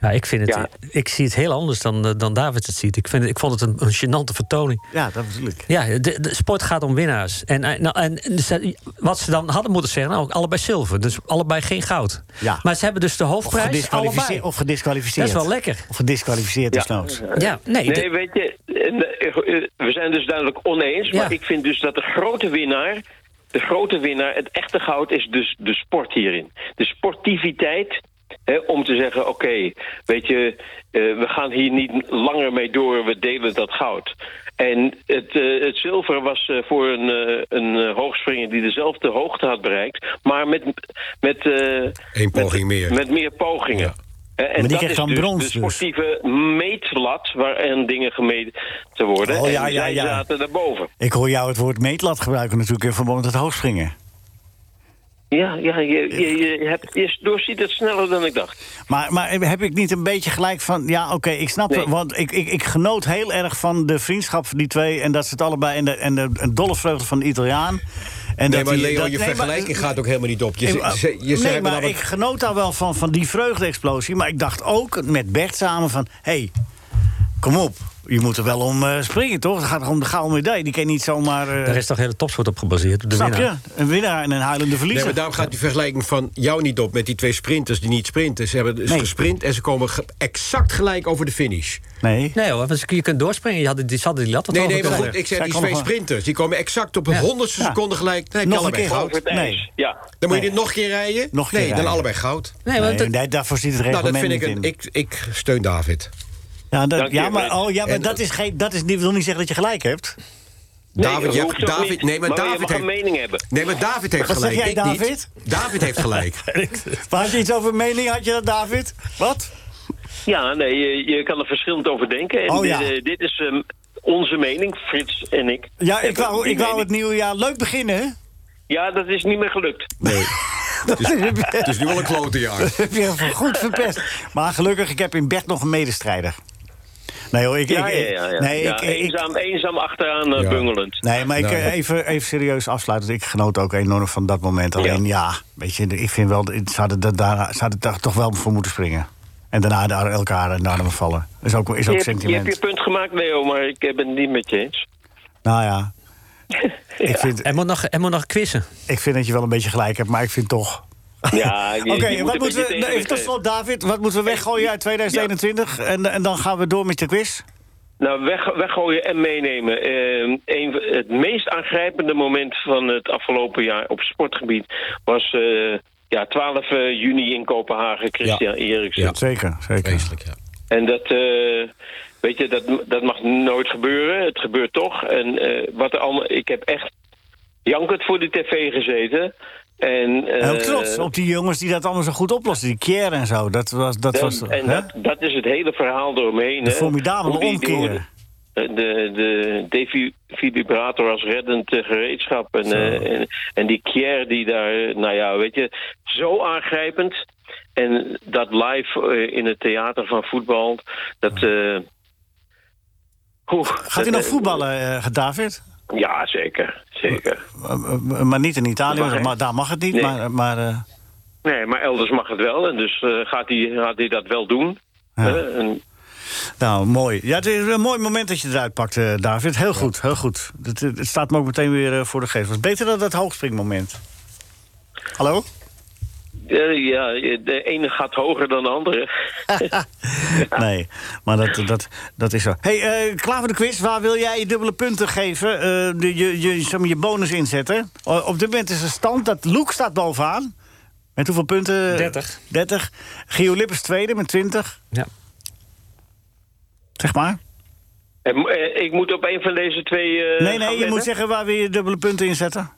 Ja, ik, vind het, eh, Ja. ik zie het heel anders dan, eh, dan David het ziet. Ik, vind, het- ik vond het een, een gênante vertoning. Ja, dat bedoel ik. Ja, de, de sport gaat om winnaars. En, eh, nou, en en ze- wat ze dan hadden moeten zeggen, nou, allebei zilver. Dus allebei geen goud. Ja. Maar ze hebben dus de Of, hoofdprijs allebei. gedisqualificeerd, of Dat gedisqualificeerd. is wel lekker. Of gedisqualificeerd, is desnoods. Ja, nee. de- Nee, weet je, eh, eh, we zijn dus duidelijk oneens. Ja. Maar ik vind dus dat de grote winnaar, de grote winnaar, het echte goud is dus de sport hierin. De sportiviteit. hè, om te zeggen, oké, weet je, eh, we gaan hier niet langer mee door, we delen dat goud. En het, eh, het zilver was eh, voor een, eh, een eh, hoogspringer die dezelfde hoogte had bereikt, maar met, met, eh, Eén poging met, meer. met meer pogingen. Ja. Eh, En die dat krijgt is dan dus brons de dus. sportieve meetlat waarin dingen gemeten te worden. Oh, ja, en ja, zij ja. zaten daarboven. Ik hoor jou het woord meetlat gebruiken natuurlijk... in verband met het hoogspringen. Ja, ja je, je, je, hebt, je doorziet het sneller dan ik dacht. Maar, maar heb ik niet een beetje gelijk van... ja, oké, ik snap Nee. het, want ik, ik, ik genoot heel erg van de vriendschap van die twee... en dat ze het allebei... en de, en de en dolle vreugde van de Italiaan. En Nee, dat maar die- Leo, dat- je nee, maar- vergelijking gaat ook helemaal niet op. Je, ze- ze- je, ze nee, hebben maar namelijk- ik genoot daar wel van, van die vreugde-explosie. Maar ik dacht ook met Bert samen van... hé, hey, kom op, je moet er wel om eh, springen, toch? Het gaat toch om de gouden medaille? Die kan je niet zomaar... eh, Daar is toch hele topsport op gebaseerd. op De snap winnaar. je? Een winnaar en een huilende Nee, verliezer. maar daarom gaat die vergelijking van jou niet op met die twee sprinters die niet sprinten. Ze hebben dus Nee. gesprint en ze komen ge- exact gelijk over de finish. Nee. Nee hoor, want ze- je kunt doorspringen. Je had, die, ze hadden die lat wat nee, hoger nee, maar kunnen goed, ik zeg leggen. Zij die komen twee gewoon- sprinters. Die komen exact op een Ja. honderdste Ja. seconde gelijk. Nee, Nog allebei een keer. goud. Over het Nee. ijs, ja. Dan moet je Nee. dit nog een keer rijden? Nog een keer nee, dan rijden. allebei goud. Nee, want Nee, het- nee, daarvoor ziet het Nou, reglement dat vind ik, niet een, in. ik, ik steun David. ja, dat, Dank je, ja, maar, Bert. oh, ja, maar En- dat, is geen, dat is, die wil niet zeggen dat je gelijk hebt. David, dat je hoeft hebt- ook David, niet. nee, maar, Maar je David mag heeft, een mening hebben. Nee, maar David heeft Wat zeg gelijk. jij, ik David? Niet. David heeft gelijk. Maar had je iets over mening, had je dat, David? Wat? Ja, nee, je, je kan er verschillend over denken. En Oh, ja. dit, eh, dit is ehm, onze mening, Frits en ik. Ja, ik Hebben wou, die ik wou mening. het nieuwe jaar leuk beginnen, hè? Ja, dat is niet meer gelukt. Nee. Het is, het is Dus nu al een klote jaar. heb je even goed verpest. Maar gelukkig, ik heb in bed nog een medestrijder. Nee hoor, ik... Ja, ik- ja, ja. ja. Nee, Ja, ik, ik- eenzaam, eenzaam achteraan eh, Ja. bungelend. nee, maar ik, Nee. eh, even, even serieus afsluiten. Ik genoot ook enorm van dat moment. Alleen ja, weet je, ik vind wel... Ze hadden, dat daar, ze hadden daar toch wel voor moeten springen. En daarna daar elkaar in de armen vallen. Is ook, is Je ook hebt- je sentiment. hebt je punt gemaakt, Leo, maar ik eh, ben het niet met je eens. Nou ja. Ik, vind, er moet nog, er moet nog quizzen. ik vind dat je wel een beetje gelijk hebt, maar ik vind toch... Ja, Oké, wat moeten we... nou, Even tot eh, slot, David. Wat moeten we weggooien uit 2021? En, en dan gaan we door met de quiz? Nou, weg, weggooien en meenemen. Ehm, een, van- het meest aangrijpende moment van het afgelopen jaar op sportgebied was eh, ja, 12 juni in Kopenhagen, Christian Eriksen. Ja. Zeker, zeker. Vreselijk, ja. En dat, eh, weet je, dat, dat mag nooit gebeuren. Het gebeurt toch. En eh, wat er allemaal, ik heb echt jankend voor de tv gezeten. En, eh, Heel trots op die jongens die dat allemaal zo goed oplossen. Die Kier en zo. Dat was. Dat was en hè? dat, dat is het hele verhaal eromheen. De hè. formidabele Hoe die- die- omkeer. De, de defibrillator als reddend eh, gereedschap. En, eh, en, en die Kier die daar, eh, nou ja, weet je, zo aangrijpend. En dat live eh, in het theater van voetbal, dat... eh, oeh, Gaat dat, hij nog eh, voetballen, eh, David? Ja, zeker. Zeker. Eh, eh, Maar niet in Italië, Mag, hè? maar daar mag het niet. Nee. Maar, maar, eh, Nee, maar elders mag het wel. En dus eh, gaat hij gaat hij dat wel doen. Eh, en nou, mooi. Ja, het is een mooi moment dat je het eruit pakt, eh, David. Heel goed, heel goed. Het, eh, het staat me ook meteen weer eh, voor de geest. Het was beter dan dat hoogspringmoment. Hallo? Eh, ja, de ene gaat hoger dan de andere. Nee, maar dat, dat, dat is zo. hey, eh, klaar voor de quiz. Waar wil jij je dubbele punten geven? Eh, de, je, je, zeg maar, je bonus inzetten. O- Op dit moment is de stand dat Loek staat bovenaan. Met hoeveel punten? 30. 30. Gio Lippers tweede met 20, Ja. zeg maar. En, mo- eh, ik moet op een van deze twee. eh, nee, nee, gaan je wennen? moet zeggen waar wil je dubbele punten inzetten.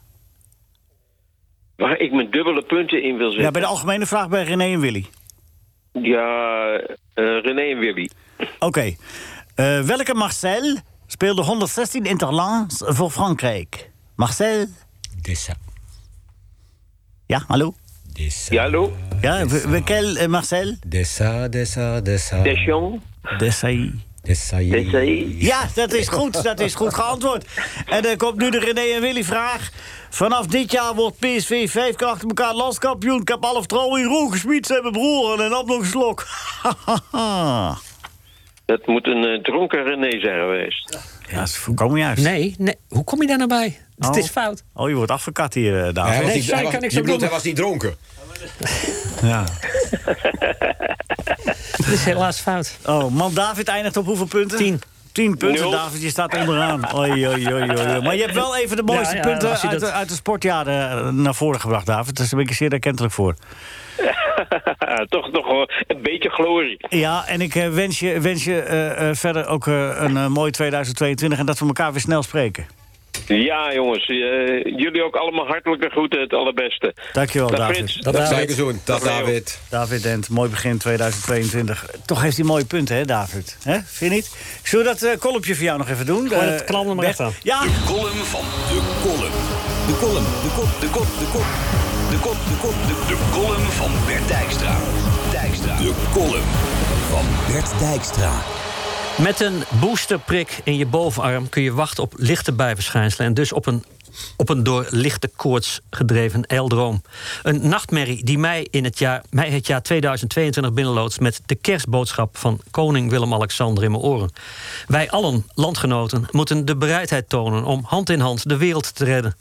waar ik mijn dubbele punten in wil zetten. Ja, bij de algemene vraag bij René en Willy. Ja, eh, René en Willy. Oké. Eh, welke Marcel speelde 116 interlands voor Frankrijk? Marcel? Dessa. Ja, hallo? Dessa. Ja, hallo? Ja, w- welke eh, Marcel? Dessa, Dessa, Dessa. Deschamps? Desailly. Dessa. Desailly? Ja, dat is goed. Dat is goed geantwoord. En dan komt nu de René en Willy vraag. Vanaf dit jaar wordt PSV vijf keer achter elkaar landskampioen. Ik heb alle vertrouwen in Roel Gesmied, zijn mijn broer. En op nog een slok. Dat moet een eh, dronken René zijn geweest. ja, dat is volkomen juist. Nee, nee, hoe kom je daar nou bij? Het Oh. is fout. Oh, je wordt afgekat hier, eh, Hij David. was nee, niet- zij hij was- kan niks je aan bedoelt, doen. hij was niet dronken. Ja. Het is helaas fout. Oh, man, David eindigt op hoeveel punten? Tien. Tien punten, Nul. David. Je staat onderaan. Oei, oei, oei, oei. Maar je hebt wel even de mooiste Ja, ja, punten als je uit, dat- de, uit de sportjaren eh, naar voren gebracht, David. Daar ben ik zeer erkentelijk voor. Toch nog wel een beetje glorie. Ja, en ik eh, wens je, wens je eh, eh, verder ook eh, een eh, mooi 2022 en dat we elkaar weer snel spreken. Ja, jongens. eh, jullie ook allemaal hartelijke groeten. Het allerbeste. Dankjewel, Dag, David. Frits. Dat zou David. ik eens doen. Dat David. David Dent, mooi begin 2022. Toch heeft hij mooie punten, hè, David? Hè? Vind je niet? Zullen we dat eh, kolopje voor jou nog even doen? Gooi dat Eh, klam er maar Bert? echt aan. Ja, De column van de column. De column, de kop, de kop, de kop. De kop, de kop, de, de column van Bert Dijkstra. Dijkstra. De column van Bert Dijkstra. Met een boosterprik in je bovenarm kun je wachten op lichte bijverschijnselen en dus op een, op een door lichte koorts gedreven eldroom. Een nachtmerrie die mij in het jaar, mij het jaar 2022 binnenloodst met de kerstboodschap van koning Willem-Alexander in mijn oren. Wij allen, landgenoten, moeten de bereidheid tonen om hand in hand de wereld te redden.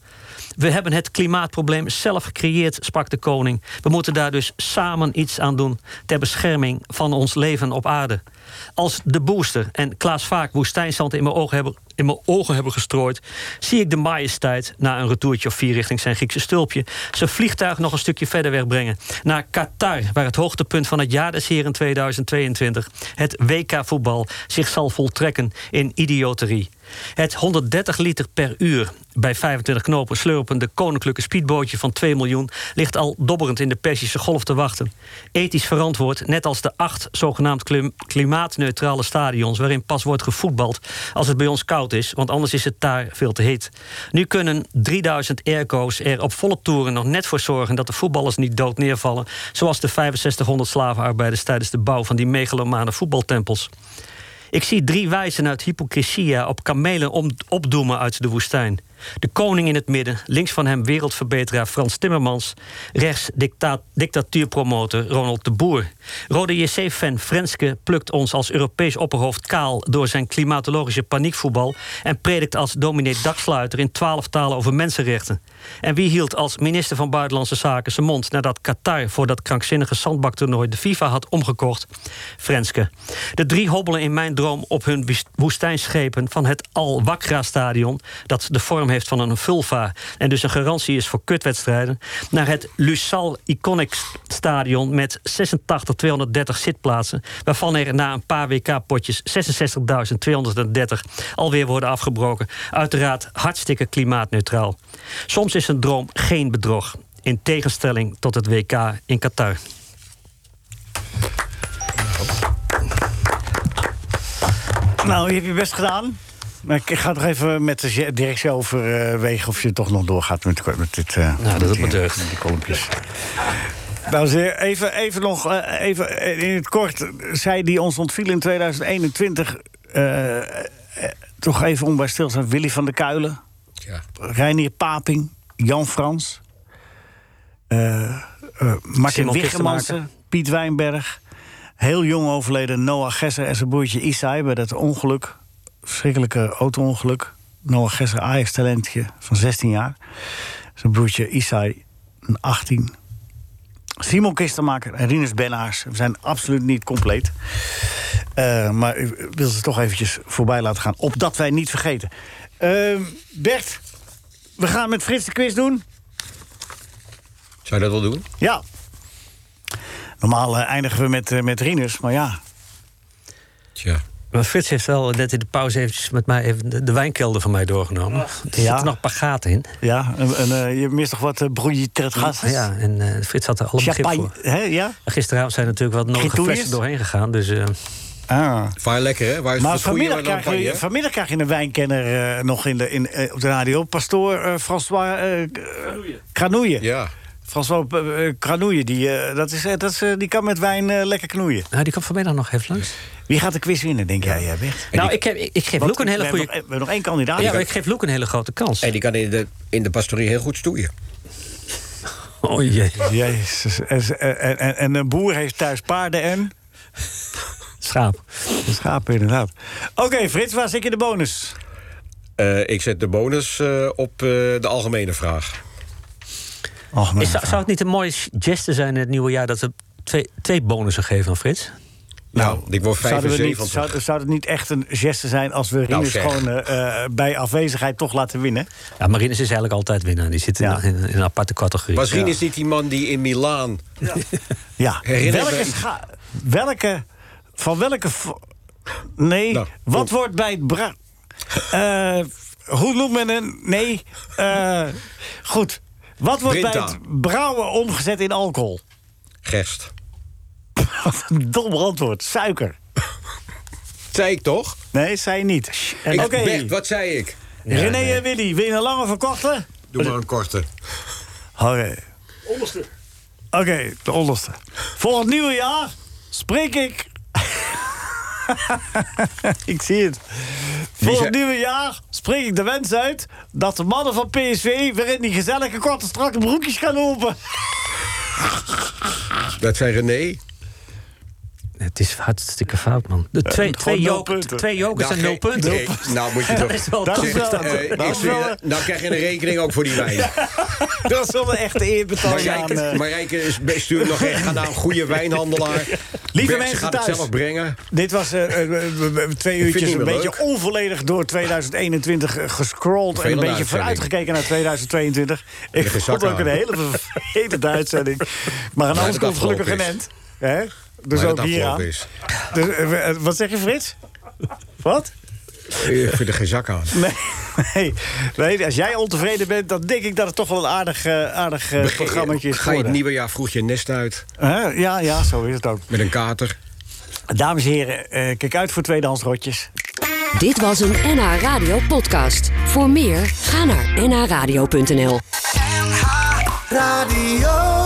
We hebben het klimaatprobleem zelf gecreëerd, sprak de koning. We moeten daar dus samen iets aan doen ter bescherming van ons leven op aarde. Als de booster en Klaas Vaak woestijnzand in mijn ogen hebben, in mijn ogen hebben gestrooid, zie ik de majesteit na een retourtje of vier richting zijn Griekse stulpje zijn vliegtuig nog een stukje verder wegbrengen naar Qatar, waar het hoogtepunt van het jaar des heren 2022, het WK voetbal, zich zal voltrekken in idioterie. Het 130 liter per uur bij 25 knopen slurpende koninklijke speedbootje van 2 miljoen ligt al dobberend in de Persische golf te wachten. Ethisch verantwoord, net als de acht zogenaamd klim- klimaatneutrale stadions waarin pas wordt gevoetbald als het bij ons koud is, want anders is het daar veel te heet. Nu kunnen 3000 airco's er op volle toeren nog net voor zorgen dat de voetballers niet dood neervallen, zoals de 6500 slavenarbeiders tijdens de bouw van die megalomane voetbaltempels. Ik zie drie wijzen uit Hypocrisia op kamelen om- opdoemen uit de woestijn. De koning in het midden, links van hem wereldverbeteraar Frans Timmermans... rechts dicta- dictatuurpromotor Ronald de Boer. Rode JC-fan Frenske plukt ons als Europees opperhoofd kaal... door zijn klimatologische paniekvoetbal... en predikt als dominee Daksluiter in twaalf talen over mensenrechten. En wie hield als minister van Buitenlandse Zaken zijn mond... nadat Qatar voor dat krankzinnige zandbaktoernooi de FIFA had omgekocht? Frenske. De drie hobbelen in mijn droom op hun wis- woestijnschepen van het Al-Wakra-stadion... dat de vorm heeft van een vulva en dus een garantie is voor kutwedstrijden... naar het Lusal Iconic-stadion met 86,230 zitplaatsen... waarvan er na een paar WK-potjes 66.230 alweer worden afgebroken. Uiteraard hartstikke klimaatneutraal. Soms is een droom geen bedrog, in tegenstelling tot het WK in Qatar. nou, je hebt je best gedaan. Maar ik ga nog even met de je- directie overwegen of je toch nog doorgaat met, met dit... eh, Nou, dat met is die- maar deugd. met die kolompjes. Dames en heren, even, even nog eh, even eh, in het kort. Zij die ons ontviel in 2021... eh, eh, toch even om bij stil te staan. Willy van der Kuilen, Ja. Reinier Paping, Jan Frans... eh, eh, Martin Simon Wiggemansen, Piet Wijnberg... heel jong overleden Noah Gesser en zijn broertje Isai... bij dat ongeluk, verschrikkelijke auto-ongeluk. Noah Gesser, Ajax-talentje van 16 jaar. Zijn broertje Isai, een 18. Simon Kistenmaker en Rinus Bennaars. We zijn absoluut niet compleet. Eh, maar ik wil ze toch eventjes voorbij laten gaan. Opdat wij niet vergeten. Eh, Bert, we gaan met Frits de quiz doen. Zou je dat wel doen? Ja. Normaal eh, eindigen we met, eh, met Rinus, maar ja. Tja. Maar Frits heeft wel net in de pauze eventjes met mij even de- de wijnkelder van mij doorgenomen. Er Ja. zitten nog een paar gaten in. Ja, en, en, eh, je mist toch wat uh, broeitretgas? Ja, en eh, Frits had er alle begrip Champagne, voor. hè? Ja? En Gisteravond zijn natuurlijk wat nodige Gitoeries? flessen doorheen gegaan. Dus eh, Ah. Vaar lekker, hè? Waar is Maar het goede vanmiddag waar dan krijg, van je, je? vanmiddag krijg je een wijnkenner eh, nog in de, in, eh, op de radio. Pastoor eh, François eh Granouille. Ja. François eh, eh, Granouille, die, eh, dat is, eh, dat is, eh, die kan met wijn eh, lekker knoeien. nou, die komt vanmiddag nog even langs. Wie gaat de quiz winnen, denk jij, eh, Bert? nou, ik, heb, ik, ik geef Want Loek een hele we hebben nog- goede... e- We hebben nog één kandidaat. Ja, maar ik geef Loek een hele grote kans. En die kan in de, in de pastorie heel goed stoeien. Oh jee. Jezus. En, en, en- en een boer heeft thuis paarden en... Schaap. Schapen, inderdaad. Oké, Frits, waar zit je de bonus? Eh, ik zet de bonus eh, op eh, de algemene vraag. Och, Is- zou, zou het niet een mooie geste zijn in het nieuwe jaar dat we twee, twee bonussen geven aan Frits? Nou, ik word Zouden we niet, 75. zou, zou het niet echt een geste zijn als we Rinus zeg. gewoon eh, eh, bij afwezigheid toch laten winnen? Ja, Marinus is eigenlijk altijd winnaar. Die zit in, Ja. in- in een aparte categorie. Was Rien is niet die man die in Milaan... Ja. Herinner je welke, me iets? scha- welke. Van welke. vo- Nee. Nou, wat kom. wordt bij het. Bra Eh, hoe noemt men een. Nee. eh, goed. Wat wordt bij Brinta. het brouwen omgezet in alcohol? Gerst. Wat een dom antwoord. Suiker. Zei ik toch? Nee, zei je niet. En Ik- Oké. Bert, wat zei ik? René en Willy, wil je een lange verkorten? Doe maar een korte. Oké. Onderste. Oké, de onderste. Voor het nieuwe jaar spreek ik. ik zie het. Voor zei- het nieuwe jaar spreek ik de wens uit dat de mannen van PSV weer in die gezellige korte strakke broekjes gaan lopen. Dat zei René. Het is hartstikke fout, man. De twee, twee, Eh, nul jok- punten. twee jokers Nou, en nul ge- punten. nee, nou moet je dat toch... is wel Dat is Zeg, wel- eh, dat ik is zweer wel- je- nou krijg je een rekening ook voor die wijn. Dat is wel een echte eerbetaling aan. Marijke, eh, Marijke is stuur nog echt. Ga naar een goede wijnhandelaar. Bert, ze mensen gaat thuis. het zelf brengen. Dit was eh, eh, eh, eh, twee uurtjes niet een meer beetje leuk. onvolledig door 2021 gescrolld... en een Vervelende beetje uitzending. vooruitgekeken naar 2022. Ik Leg je vond zak ook aan. een hele vervelende uitzending. Maar aan de andere het kant gelukkig een afgelopen end. Hè? Dus Maar ook dat hier aan. afgelopen is. Dus, eh, eh, wat zeg je, Frits? Wat? Ik vind er geen zak aan. Nee, nee. Nee, als jij ontevreden bent, dan denk ik dat het toch wel een aardig, eh, aardig eh, programmaatje is Ga je het geworden. nieuwe jaar vroeg je nest uit Hè? Ja, ja, zo is het ook. met een kater? Dames en heren, eh, kijk uit voor tweedehands rotjes. Dit was een NH Radio podcast. Voor meer, ga naar nhradio.nl. Radio.